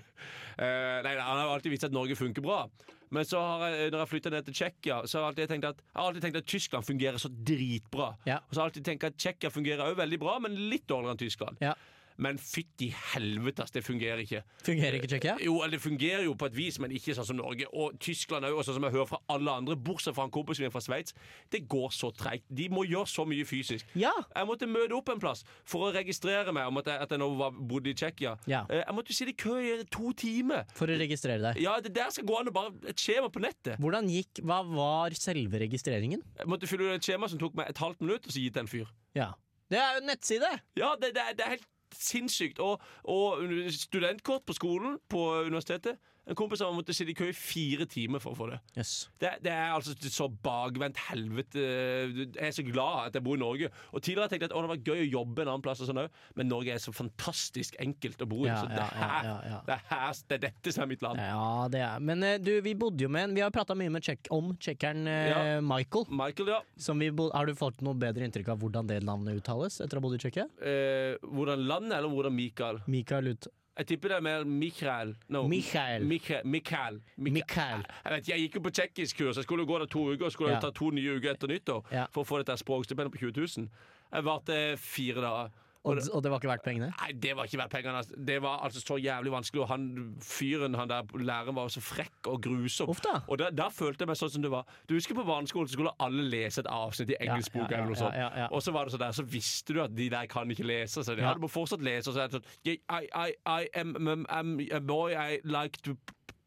Eh, nei, nei, Han har jo alltid visst at Norge funker bra. Men så har jeg, når jeg flytta ned til Tsjekkia, så har jeg alltid tenkt at, jeg har alltid tenkt at Tyskland fungerer så dritbra.
Ja.
Og så har jeg alltid tenkt at Tsjekkia fungerer også veldig bra, men litt dårligere enn Tyskland.
Ja.
Men fytti helvetes, det fungerer ikke.
Fungerer ikke Tsjekkia?
Jo, eller Det fungerer jo på et vis, men ikke sånn som Norge. Og Tyskland er jo også, som jeg hører fra alle andre, bortsett fra en kompis min fra Sveits. Det går så treigt. De må gjøre så mye fysisk.
Ja!
Jeg måtte møte opp en plass for å registrere meg om at jeg, at jeg nå var, bodde i Tsjekkia.
Ja.
Eh, Jeg måtte jo sitte i kø i to timer.
For å registrere deg.
Ja, det der skal gå an å bare et skjema på nettet.
Hvordan gikk Hva var selve registreringen?
Jeg måtte fylle ut et skjema som tok meg et halvt minutt, og så gitt til en fyr.
Ja. Det er jo en nettside!
Ja, det, det, er- det er helt sinnssykt. Og, og studentkort på skolen, på universitetet, En kompis av meg måtte sitte i kø i fire timer for å få det.
Yes.
Det, det er altså så bakvendt helvete. Jeg er så glad at jeg bor i Norge. Og Tidligere tenkte jeg at å, det var gøy å jobbe en annen plass, og sånn også. men Norge er så fantastisk enkelt å bo i.
Ja,
så det
ja,
er,
ja, ja, ja.
Det, er her, det er dette som er mitt land.
Ja, det er Men eh, du, vi bodde jo med en Vi har prata mye med check om tsjekkeren eh, Michael.
Michael, ja.
Som vi bo har du fått noe bedre inntrykk av hvordan det navnet uttales etter å ha bodd i Tsjekkia?
Eh, hvordan landet, eller hvordan Michael?
Mikael ut...
Jeg tipper det er mer Michael. No.
Michael.
Michael. Michael. Mik-
Mikael.
Jeg, vet, jeg gikk jo på tsjekkisk-kurs. Jeg skulle jo gå der to uker og skulle
Ja.
ta to nye uker etter nyttår
Ja.
for å få dette språkstipendet på 20 000. Jeg varte fire dager.
Og, og det var ikke verdt pengene?
Nei, det var ikke verdt pengene. altså. Det var altså så jævlig vanskelig. Og han fyren, han der læreren, var jo så frekk og grusom.
Uff da.
Og da, da følte jeg meg sånn som det var. Du husker på barneskolen så skulle alle lese et avsnitt i engelskboka
ja, ja,
eller noe sånt.
ja, ja, ja.
Og så var det sånn der, så visste du at de der kan ikke lese. Så de, ja.
Ja.
du må fortsatt lese. Og så er det sånn I, I, I am, am, am a boy I like to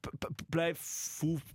p p p play fotball.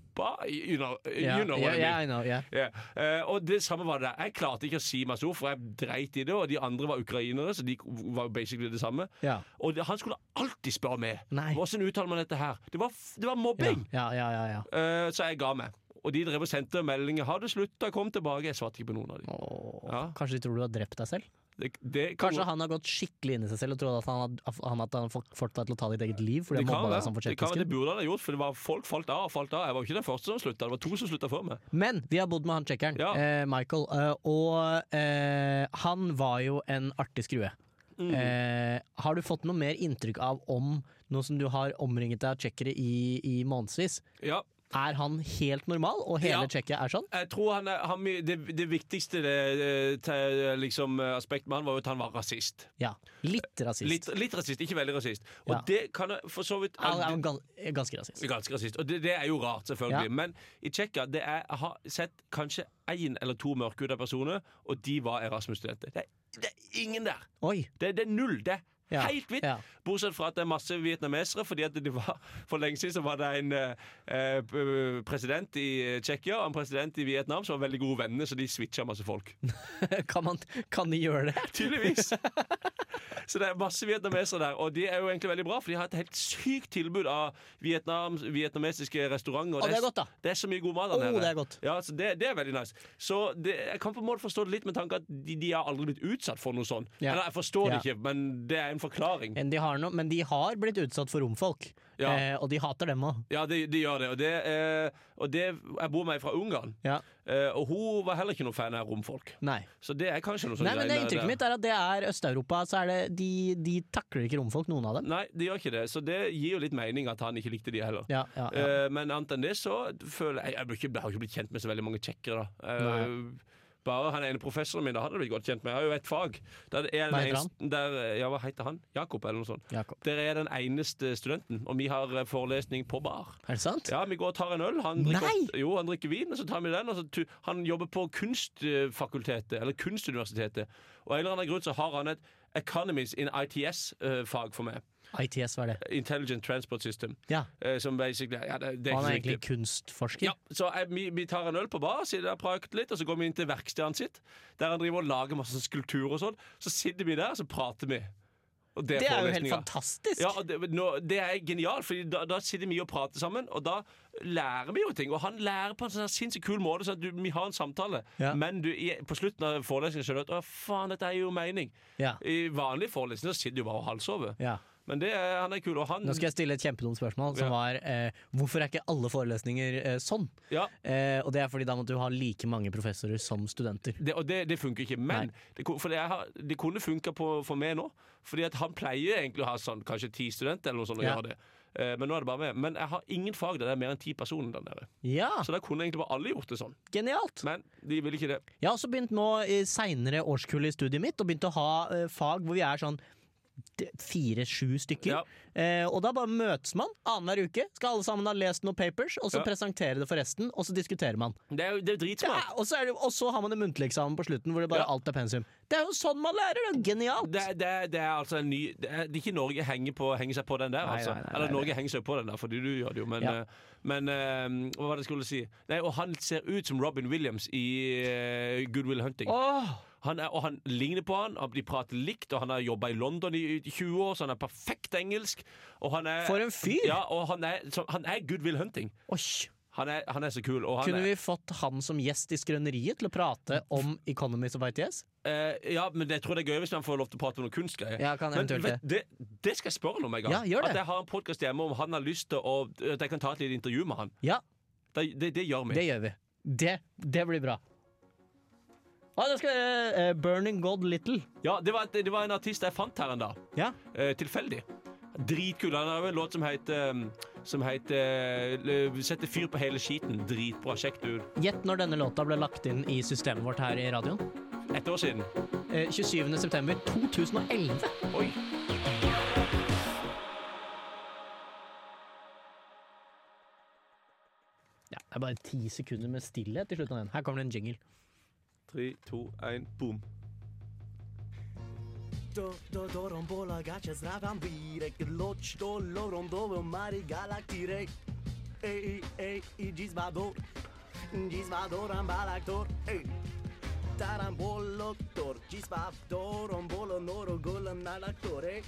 You know, you know what I mean.
yeah, I know, yeah.
Ja, eh, og det samme var det der. Jeg klarte ikke å si meg så, for jeg dreit i det. Og de andre var ukrainere, så de var jo basically det samme.
Ja.
Og det, han skulle alltid spørre meg.
Nei.
Hvordan uttaler man dette her? Det var, f- det var
Ja,
mobbing!
ja, ja, ja, ja.
Eh, så jeg ga meg. Og de drev og sendte meldinger. 'Har du slutta? Kom tilbake.' Jeg svarte ikke på noen av dem.
Åh,
Ja.
Kanskje de tror du har drept deg selv?
Det, det,
Kanskje han har gått skikkelig inn i seg selv og trodd at han, had, han, at han fått fått deg til å ta ditt eget liv fordi
det
han
kan
mobba
være.
deg sånn for
det, kan, være. det
tsjekkisken?
burde han ha gjort, for det var folk falt av og falt av. Jeg var jo ikke den første som slutta, det var to som slutta før meg.
Men vi har bodd med han tsjekkeren,
Ja.
eh, Michael, eh, og eh, han var jo en artig skrue.
Mm.
Eh, har du fått noe mer inntrykk av om, nå som du har omringet deg av tsjekkere i, i månedsvis,
Ja.
er han helt normal, og hele
Ja.
Tsjekkia er sånn?
Jeg tror han, er- han det, det viktigste det, eh, te- liksom, eh, aspektet med han var jo at han var rasist.
Ja. Litt rasist.
Litt, litt rasist, ikke veldig rasist. Og
Ja.
det kan jeg for så vidt
Ja, han er gans ganske rasist.
Ganske rasist. Og det, det er jo rart, selvfølgelig.
Ja.
Men i Tsjekkia det er- jeg har sett kanskje én eller to mørkhuda personer, og de var Erasmus-studenter. Det, er- det er ingen der!
Oi!
Det, det er null! Det er
Ja.
helt hvitt!
Ja.
Bortsett fra at det er masse vietnamesere. Fordi at det var, For lenge siden så var det en eh, eh, p- president i Tsjekkia og en president i Vietnam som var veldig gode venner, så de switcha masse folk.
Kan, man, kan de gjøre det?
Tydeligvis. Så det er masse vietnamesere der, og de er jo egentlig veldig bra, for de har et helt sykt tilbud av Vietnam, vietnamesiske restauranter. og
Å, det er godt, da.
Det er så mye god mat der
Å,
nede.
det er godt.
Ja, så det, det er veldig nice. Så det, jeg kan på en måte forstå det litt med tanke at de, de har aldri blitt utsatt for noe sånt.
Ja.
Eller jeg forstår det
Ja.
ikke, men det er en forklaring.
Men de har, no men de har blitt utsatt for romfolk,
Ja.
eh, og de hater dem òg.
Ja, de, de gjør det. Og det, eh, og det Jeg bor med ei fra Ungarn,
Ja.
eh, og hun var heller ikke noen fan av romfolk.
Nei.
Så det er kanskje noe sånt
Nei, men det
greier der.
Inntrykket mitt er at det er Øst-Europa. Så er det, de, de takler ikke romfolk, noen av dem.
Nei, de gjør ikke det. Så det gir jo litt mening at han ikke likte de heller.
Ja, ja, ja.
Eh, men annet enn det så føler jeg Jeg, blir ikke, jeg har ikke blitt kjent med så veldig mange tsjekkere, da. Eh, bare han ene professoren min, da hadde jeg blitt godt kjent med. Jeg har jo et fag. Der er den
Hva heter
eneste- Der, eh, ja, hva heter han? Jakob, eller noe sånt.
Jakob.
Der er jeg den eneste studenten, og vi har eh, forelesning på bar.
Er det sant?
Ja, vi går og tar en øl. Han drikker,
Nei!
ofte- jo, han drikker vin, og så tar vi den. Og så tu, han jobber på Kunstfakultetet, eller Kunstuniversitetet. Og av en eller annen grunn så har han et Economies in ITS-fag eh, for meg.
ITS, hva er det?
Intelligent Transport System.
Ja.
eh, Som basically ja, det, det er ikke så
Og han er
viktig.
egentlig kunstforsker.
Ja, så jeg, vi, vi tar en øl på bar, sitter der og prater litt, og så går vi inn til verkstedet hans sitt, der han driver og lager masse skulpturer og sånn. Så sitter vi der, og så prater vi. Og
Det er jo helt
forelesninga.
fantastisk!
Ja, og det, nå, det er genialt, for da, da sitter vi og prater sammen, og da lærer vi jo ting. Og han lærer på en sånn her sinnssykt kul måte, så at du, vi har en samtale,
Ja.
men du, i, på slutten av forelesningen skjønner du at 'å, faen, dette gir jo mening'.
Ja.
I vanlige forelesninger så sitter du bare og halvsover.
Ja.
Men det, er- han er kul, og han
Nå skal jeg stille et kjempedumt spørsmål, som
Ja.
var eh, hvorfor er ikke alle forelesninger eh, sånn?
ja,
Eh, og det er fordi da måtte du ha like mange professorer som studenter.
det, og det, det funker ikke. Men det, kun- for det, jeg har, det kunne funka på- for meg nå. Fordi at han pleier egentlig å ha sånn, kanskje ti studenter eller noe sånt. å
Ja.
gjøre det. Eh, Men nå er det bare meg. Men jeg har ingen fag der det er mer enn ti personer der nede.
Ja,
Så da kunne egentlig bare alle gjort det sånn.
genialt!
Men de vil ikke det.
Jeg har også begynt nå i seinere årskull i studiet mitt, og begynt å ha eh, fag hvor vi er sånn fire-sju stykker.
Ja.
Eh, og da bare møtes man annenhver uke, skal alle sammen ha lest noen papers, og så
Ja.
presentere det for resten, og så diskuterer man.
Det er jo det er jo
Det
dritsmart.
er, og, så er det, og så har man en muntlig eksamen på slutten hvor det bare
Ja.
alt er pensum. Det er jo sånn man lærer! Det er jo genialt!
Det, er- det, er- det er altså en ny Det er, det er ikke Norge henger, på, henger seg på den der,
Nei,
altså.
nei, nei,
Eller
nei,
Norge henger seg på den der, fordi du gjør det jo, men,
Ja.
eh, men eh, Hva var det jeg skulle si? Nei, og han ser ut som Robin Williams i eh, Good Will Hunting.
Åh,
Han er, og han ligner på han, og de prater likt, og han har jobba i London i i 20 år, så han er perfekt engelsk. Og han er,
For en fyr!
Ja, og han er, så, han er good will hunting.
Oi.
Han er, han er så kul. Og han
Kunne
er,
vi fått han som gjest i Skrøneriet til å prate om Economies of ITS?
eh, ja, men det tror jeg det er gøy hvis han får lov til å prate om noen kunstgreier.
Ja, kan
Men
eventuelt
vet,
det.
det, det skal jeg spørre ham om en gang.
Ja, gjør det.
At jeg har en podkast hjemme om han har lyst til å At jeg kan ta et lite intervju med han.
Ja,
Det, det, det gjør vi.
det gjør vi. Det, det blir bra. Å, det skal være eh, Burning God Little.
Ja, det var, et- det var en artist jeg fant her en dag.
Ja.
Eh, tilfeldig. Dritkul. Han har jo en låt som heter um, Som heter uh, Sette fyr på hele skiten. Dritbra. Sjekk det ut.
Gjett når denne låta ble lagt inn i systemet vårt her i radioen.
Ett år siden.
Eh, 27. september 2011.
Oi.
Ja, det er bare ti sekunder med stillhet til slutten av den. Her kommer det en jingle.
Tre, to, én, boom.
To, to, to, rombola, gaće, zdravam virek Loč, to, lo, rondovo, mari, galaktirek Ej, ej, i džizmador Džizmador, ambalaktor, ej Taramboloktor, džizmador, rombolo, noro, golem, nalaktor, ej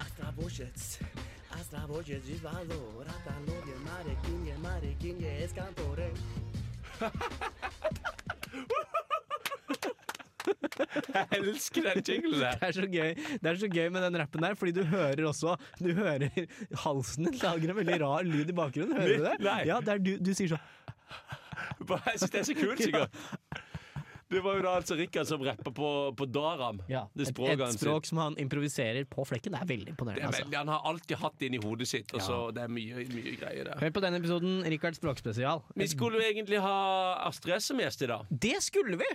Astravožec, astravožec, džizmador Ratanovje, mare, kinje, mare, kinje, eskantor, ej
Jeg elsker den jinglen der.
Det er, så gøy. det er så gøy med den rappen der, fordi du hører også Du hører halsen din lager en veldig rar lyd i bakgrunnen. Hører du det?
Nei.
Ja, det er du, du sier sånn
Bare, Jeg syns det er så kult, sikkert. Det var jo da altså Rikard som rapper på, på Daram.
ja,
det
et,
språket
et
han sitt.
språk som han improviserer på flekken. Det er veldig
Det er
imponerende.
veldig-
Altså.
Han har alltid hatt det inni hodet sitt, og så det er mye, mye greier der.
Hør på denne episoden, Rikards språkspesial.
Vi skulle jo egentlig ha Astrid S som gjest i dag.
Det skulle vi!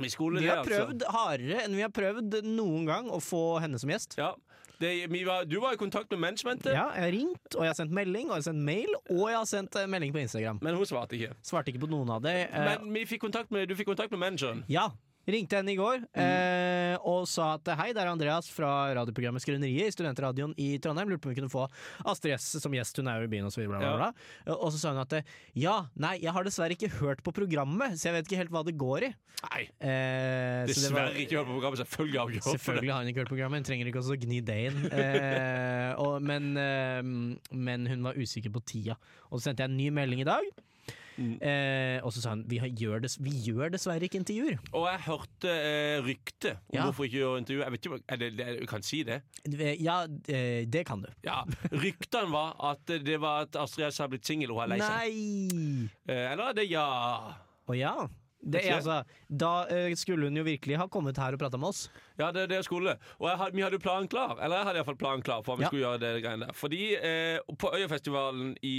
Vi skulle
Vi
det,
har
altså.
prøvd hardere enn vi har prøvd noen gang å få henne som gjest.
Ja. Det, vi var, du var i kontakt med managementet,
Ja, jeg har ringt, og jeg har sendt melding, og jeg har sendt mail, og jeg har sendt eh, melding på Instagram.
men hun svarte ikke.
Svarte ikke på noen av det. eh,
Men vi fikk kontakt med, du fikk kontakt med manageren.
Ja. Ringte henne i går eh, og sa at hei, det er Andreas fra radioprogrammet Skrøneriet i Studentradioen i Trondheim. Lurte på om vi kunne få Astrid S som gjest, hun er jo i byen osv.
Ja.
Og så sa hun at ja, nei, jeg har dessverre ikke hørt på programmet, så jeg vet ikke helt hva det går i.
Nei,
Eh, så det var-
dessverre ikke hørt på programmet. Selvfølgelig har vi ikke hørt på det.
Selvfølgelig har hun ikke hørt programmet, hun trenger ikke også å gni det inn. Eh, og, men, eh, men hun var usikker på tida. Og så sendte jeg en ny melding i dag.
Mm.
Eh, og så sa hun vi, har, gjør dess, vi gjør dessverre ikke intervjuer.
Og jeg hørte eh, rykte om
Ja.
hvorfor ikke gjøre intervju. Jeg vet ikke, om- er det, det, jeg kan si det.
Ja, eh, det kan du.
Ja, Ryktene var at det var at Astrid S har blitt singel og hun er lei seg.
Nei!
Eh, eller er det ja
Å ja. Det er, altså, da eh, skulle hun jo virkelig ha kommet her og prata med oss.
Ja, det er det jeg skulle. Og jeg hadde, vi hadde jo planen klar. Eller jeg hadde iallfall planen klar for at vi
Ja.
skulle gjøre det greiene der. Fordi eh, på Øyafestivalen i,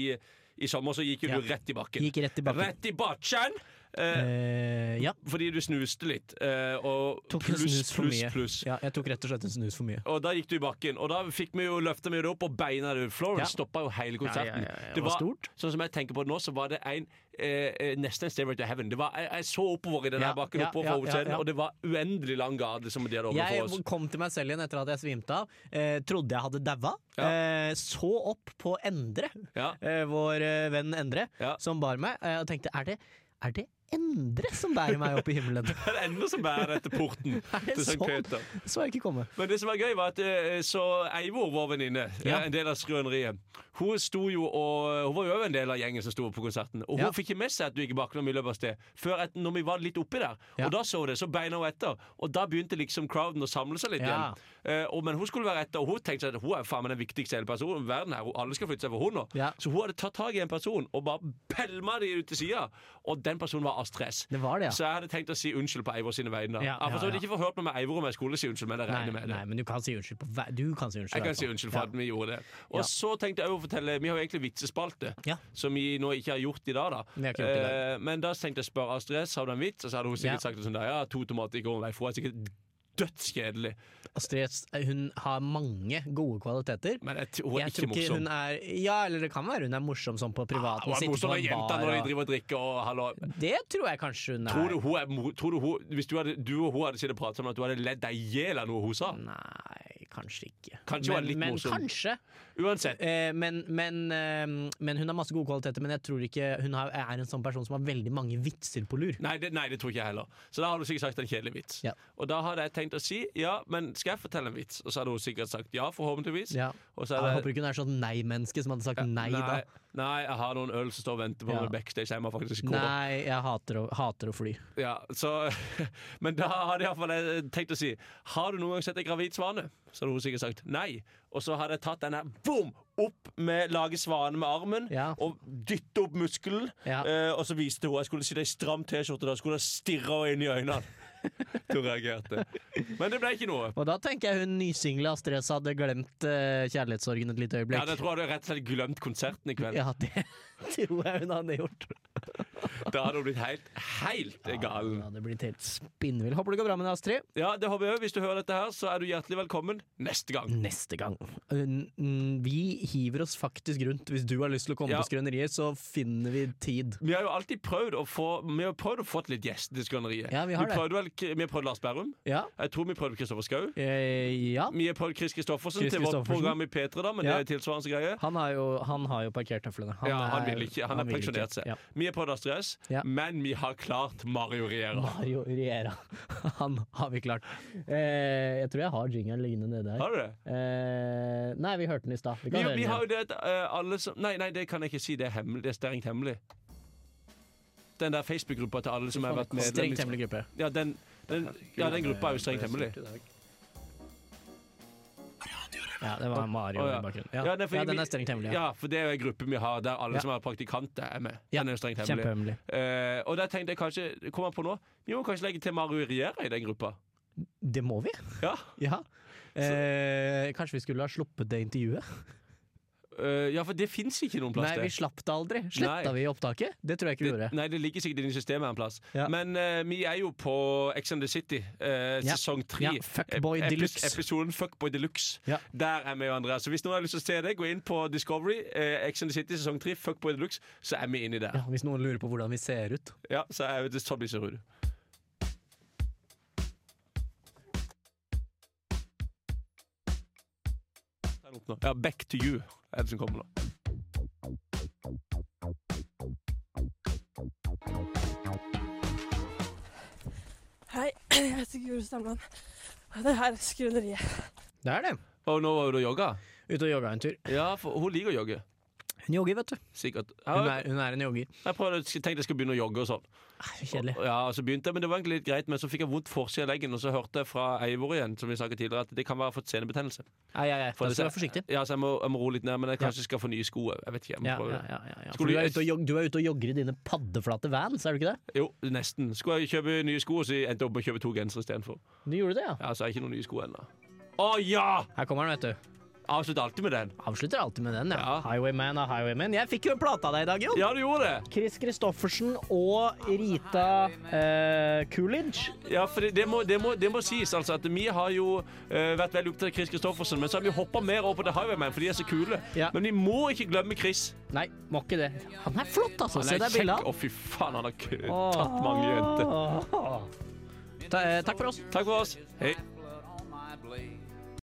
i sommer så gikk jo
Ja.
du rett i bakken.
Gikk rett i bakken.
Rett i bakken! Eh,
Eh, ja.
fordi du snuste litt. Eh, og
Tok en
pluss,
snus for
pluss,
mye.
pluss.
ja. Jeg tok rett og slett en snus for mye.
Og da gikk du i bakken, og da fikk vi jo løfta det opp, og beina det ut. Florence
Ja.
stoppa jo hele konserten.
Ja, ja, ja, ja.
Det
Det var
var,
stort.
Sånn som jeg tenker på det nå, så var det en eh, eh, nesten en Stairway to Heaven. Det var, jeg, jeg så oppover i den
Ja,
der bakken,
ja,
oppover
ja,
hovedscenen,
ja, ja.
og det var uendelig lang gade som de hadde
Jeg
overfor oss.
kom til meg selv igjen etter at jeg svimte av. Eh, trodde jeg hadde daua.
Ja.
Eh, så opp på Endre,
Ja.
eh, vår eh, venn Endre,
Ja.
som bar meg, eh, og tenkte er det, er det Endre som bærer meg opp i himmelen?
Det er ennå som bærer etter porten
det
til St.
sånn?
Peter.
så jeg ikke komme.
Men det som var gøy, var at eh, så Eivor, vår venninne,
Ja.
eh, en del av skrøneriet, hun sto jo og Hun var jo også en del av gjengen som sto på konserten. Og hun
Ja.
fikk ikke med seg at du ikke bakte noe mye løp av sted, før at når vi var litt oppi der.
Ja.
Og da så hun det, så beina hun etter. Og da begynte liksom crowden å samle seg litt
Ja.
igjen. Eh, og, men hun skulle være etter, og hun tenkte seg at hun er faen meg den viktigste i hele personen i verden her. Og alle skal flytte seg for hun nå.
Ja.
Så hun hadde tatt tak i en person og bare pælma de ut til sida. Og den personen var Astrid S.
Det var det,
Så
ja.
jeg hadde tenkt å si unnskyld på Eivor sine vegne. Ja,
Ja,
ja,
ja,
ja.
ja.
Ikke få hørt meg med Eivor om jeg skulle si unnskyld, men jeg
Nei,
regner med det.
nei, men du kan si unnskyld. På, hver- du kan si unnskyld.
Jeg
i
kan
hvert
si
fall.
unnskyld for at vi gjorde det. Og
Ja.
så tenkte jeg å fortelle Vi har jo egentlig vitsespalte,
Ja.
som vi nå ikke har gjort i dag. da
Vi har ikke gjort det i dag.
Eh, Men da tenkte jeg spørre Astrid S, har du en vits? Og så hadde hun sikkert
Ja.
sagt det sånn der, ja, to tomater i går, nei, for det er sikkert dødskjedelig.
Ja. Astrid S, eh, hun har mange gode kvaliteter.
Men jeg, t- hun er
Jeg
ikke
tror ikke
morsom. Ah,
hun er Ja, eller det kan være hun er morsom sånn på privaten.
hun er
sitter på
morsom
en
med jenta
bar
når de
og-
driver og drikker og hallo.
Det tror jeg kanskje hun er.
Tror du hun er, mo- tror du hun, hvis du, hadde, du og hun hadde sittet og pratet sammen, at du hadde ledd deg i hjel av noe hun sa?
Nei, Kanskje ikke.
Kanskje var
men,
litt
men
morsom.
kanskje.
Uansett.
Eh, men, men, eh, men hun har masse gode kvaliteter, men jeg tror ikke hun har, er en sånn person som har veldig mange vitser på lur.
Nei det, nei, det tror ikke jeg heller. Så da har du sikkert sagt en kjedelig vits.
Ja.
Og da hadde jeg tenkt å si ja, men skal jeg fortelle en vits? Og så hadde hun sikkert sagt ja, forhåpentligvis.
Ja.
Og så
Jeg
hadde
håper ikke hun er sånn nei-menneske som hadde sagt nei, da.
Nei, jeg har noen øl som står og venter på
Ja.
meg backstage. Jeg må faktisk gå.
Nei, jeg hater å, hater å fly.
Ja, så, men da hadde jeg iallfall tenkt å si Har du noen gang sett en gravid svane? Så hadde hun sikkert sagt nei. Og så hadde jeg tatt den her boom, opp med lage svane med armen
Ja.
og dytte opp muskelen.
Ja.
Eh, og så viste hun jeg skulle sitte i stram T-skjorte da skulle jeg stirre henne inn i øynene. Da reagerte Men det ble ikke noe.
Og da tenker jeg hun nysingle Astrid S hadde glemt eh, kjærlighetssorgen et lite
Ja,
øyeblikk.
Da tror jeg du rett og slett glemt konserten i kveld.
Ja, det tror jeg hun hadde gjort.
Da hadde hun blitt helt, helt gal.
Ja, det blir helt spinnvill. Håper det går bra med deg, Astrid.
Ja, det håper jeg. Hvis du hører dette her, så er du hjertelig velkommen neste gang.
Neste gang. N- n- Vi hiver oss faktisk rundt. Hvis du har lyst til å komme
Ja.
på Skrøneriet, så finner vi tid.
Vi har jo alltid prøvd å få Vi har prøvd å få litt gjester til Skrøneriet.
Ja, vi har det.
prøvde vel, vi har prøvd Lars Berrum.
Ja.
Jeg tror vi prøvde Kristoffer Schou.
Eh, ja.
Vi har prøvd Chris Kristoffersen
Chris
til vårt
Kristoffersen.
program i P3, da, men
Ja.
det er tilsvarende greie.
Han har jo, han har jo parkert tøflene.
ja, han vil ikke. Han har
vil ikke.
pensjonert seg.
Ja.
Vi har prøvd Astrid S,
Ja.
men vi har klart Mario Riera.
Mario Riera. Han har vi klart. Eh, jeg tror jeg har jingeren liggende nede her.
Har du det?
Eh, nei, vi hørte den i stad. Vi
Vi,
kan høre
vi
den
har
igjen.
jo det at eh, alle som Nei, nei, det kan jeg ikke si. Det er hemmelig. Det er strengt hemmelig. Den der Facebook-gruppa til alle som har vært medlem
Strengt
i-
hemmelig gruppe.
Ja, den, den, ja, den gruppa er jo strengt hemmelig.
Ja, det var Mario
Å, ja.
i bakgrunnen.
Ja,
Ja,
nei, for
ja
vi-
den er strengt hemmelig. Ja.
Ja, for det er jo en gruppe vi har der alle
Ja.
som er praktikanter, er med.
Ja,
Den er jo strengt hemmelig.
Kjempehemmelig.
Eh, og der tenkte jeg kanskje Kom an på nå Vi må kanskje legge til Mario Riera i den gruppa.
Det må vi.
Ja,
Ja. Eh, kanskje vi skulle ha sluppet det intervjuet?
Eh, ja for det fins ikke noen plass
Nei, vi
til.
slapp det aldri. Sletta
Nei.
vi opptaket? Det tror jeg ikke vi
Det,
gjorde.
nei, det ligger sikkert inne i systemet en plass.
Ja.
Men eh, vi er jo på Ex and the City, eh,
Ja.
sesong tre.
Ja, Fuckboy
Ep- epis-
Deluxe.
Episoden Fuckboy Deluxe.
Ja.
Der er vi og Andreas. Så hvis noen har lyst til å se det, gå inn på Discovery. Eh, Ex and the City sesong tre, Fuckboy Deluxe, så er vi inni der.
Ja, hvis noen lurer på hvordan vi ser ut.
Ja, så er det sånn vi ser ut. Den opp nå. Ja, Back to you er det som kommer nå.
Hei, jeg heter Guro Stamland. Og det her er Skrøneriet.
Det er det.
Og nå var hun og jogga?
Ute og jogga en tur.
Ja, for hun liker å jogge.
Hun jogger, vet du.
Sikkert.
Hun
Ja,
er, hun er en jogger.
jeg prøvde, jeg tenkte jeg skulle begynne å jogge og sånn.
Kjedelig.
Ja, og så begynte jeg, men Det var egentlig litt greit, men så fikk jeg vondt forside av leggen, og så hørte jeg fra Eivor igjen som vi snakket tidligere, at det kan være fått senebetennelse.
Nei, nei, nei. Da
For det-
skal du være forsiktig.
Ja, så jeg må, jeg må roe litt ned, men jeg kanskje skal få nye sko òg. Jeg vet ikke. jeg må
Ja,
prøve
ja,
det.
ja, ja,
Skulle
ja. For du er,
jeg-
ute og jog, du er ute og jogger i dine paddeflate vans, er du ikke det?
Jo, nesten. Skulle jeg kjøpe nye sko, så jeg endte jeg opp med å kjøpe to gensere istedenfor.
Du gjorde det, ja.
Ja, så er det ikke noen nye sko ennå. Å ja!
Her kommer han, vet du.
Avslutt alltid med den.
Avslutter alltid med den, ja.
Ja.
Highwayman og Highwayman. Jeg fikk jo en plate av deg i dag, Jon.
Ja, du gjorde det!
Chris Christoffersen og Rita eh, Coolidge.
Ja, for det, det, må, det, må, det må sies, altså. At vi har jo eh, vært veldig opptatt av Chris Christoffersen, men så har vi hoppa mer over på The Highwayman, for de er så kule.
Ja.
Men vi må ikke glemme Chris.
Nei, må ikke det. Han er flott, altså.
Han
Se
er
deg bildet av
Å, fy faen, han har kø-
Åh.
tatt mange jenter.
han. Ta- eh, Takk for oss.
Takk for oss. Hei.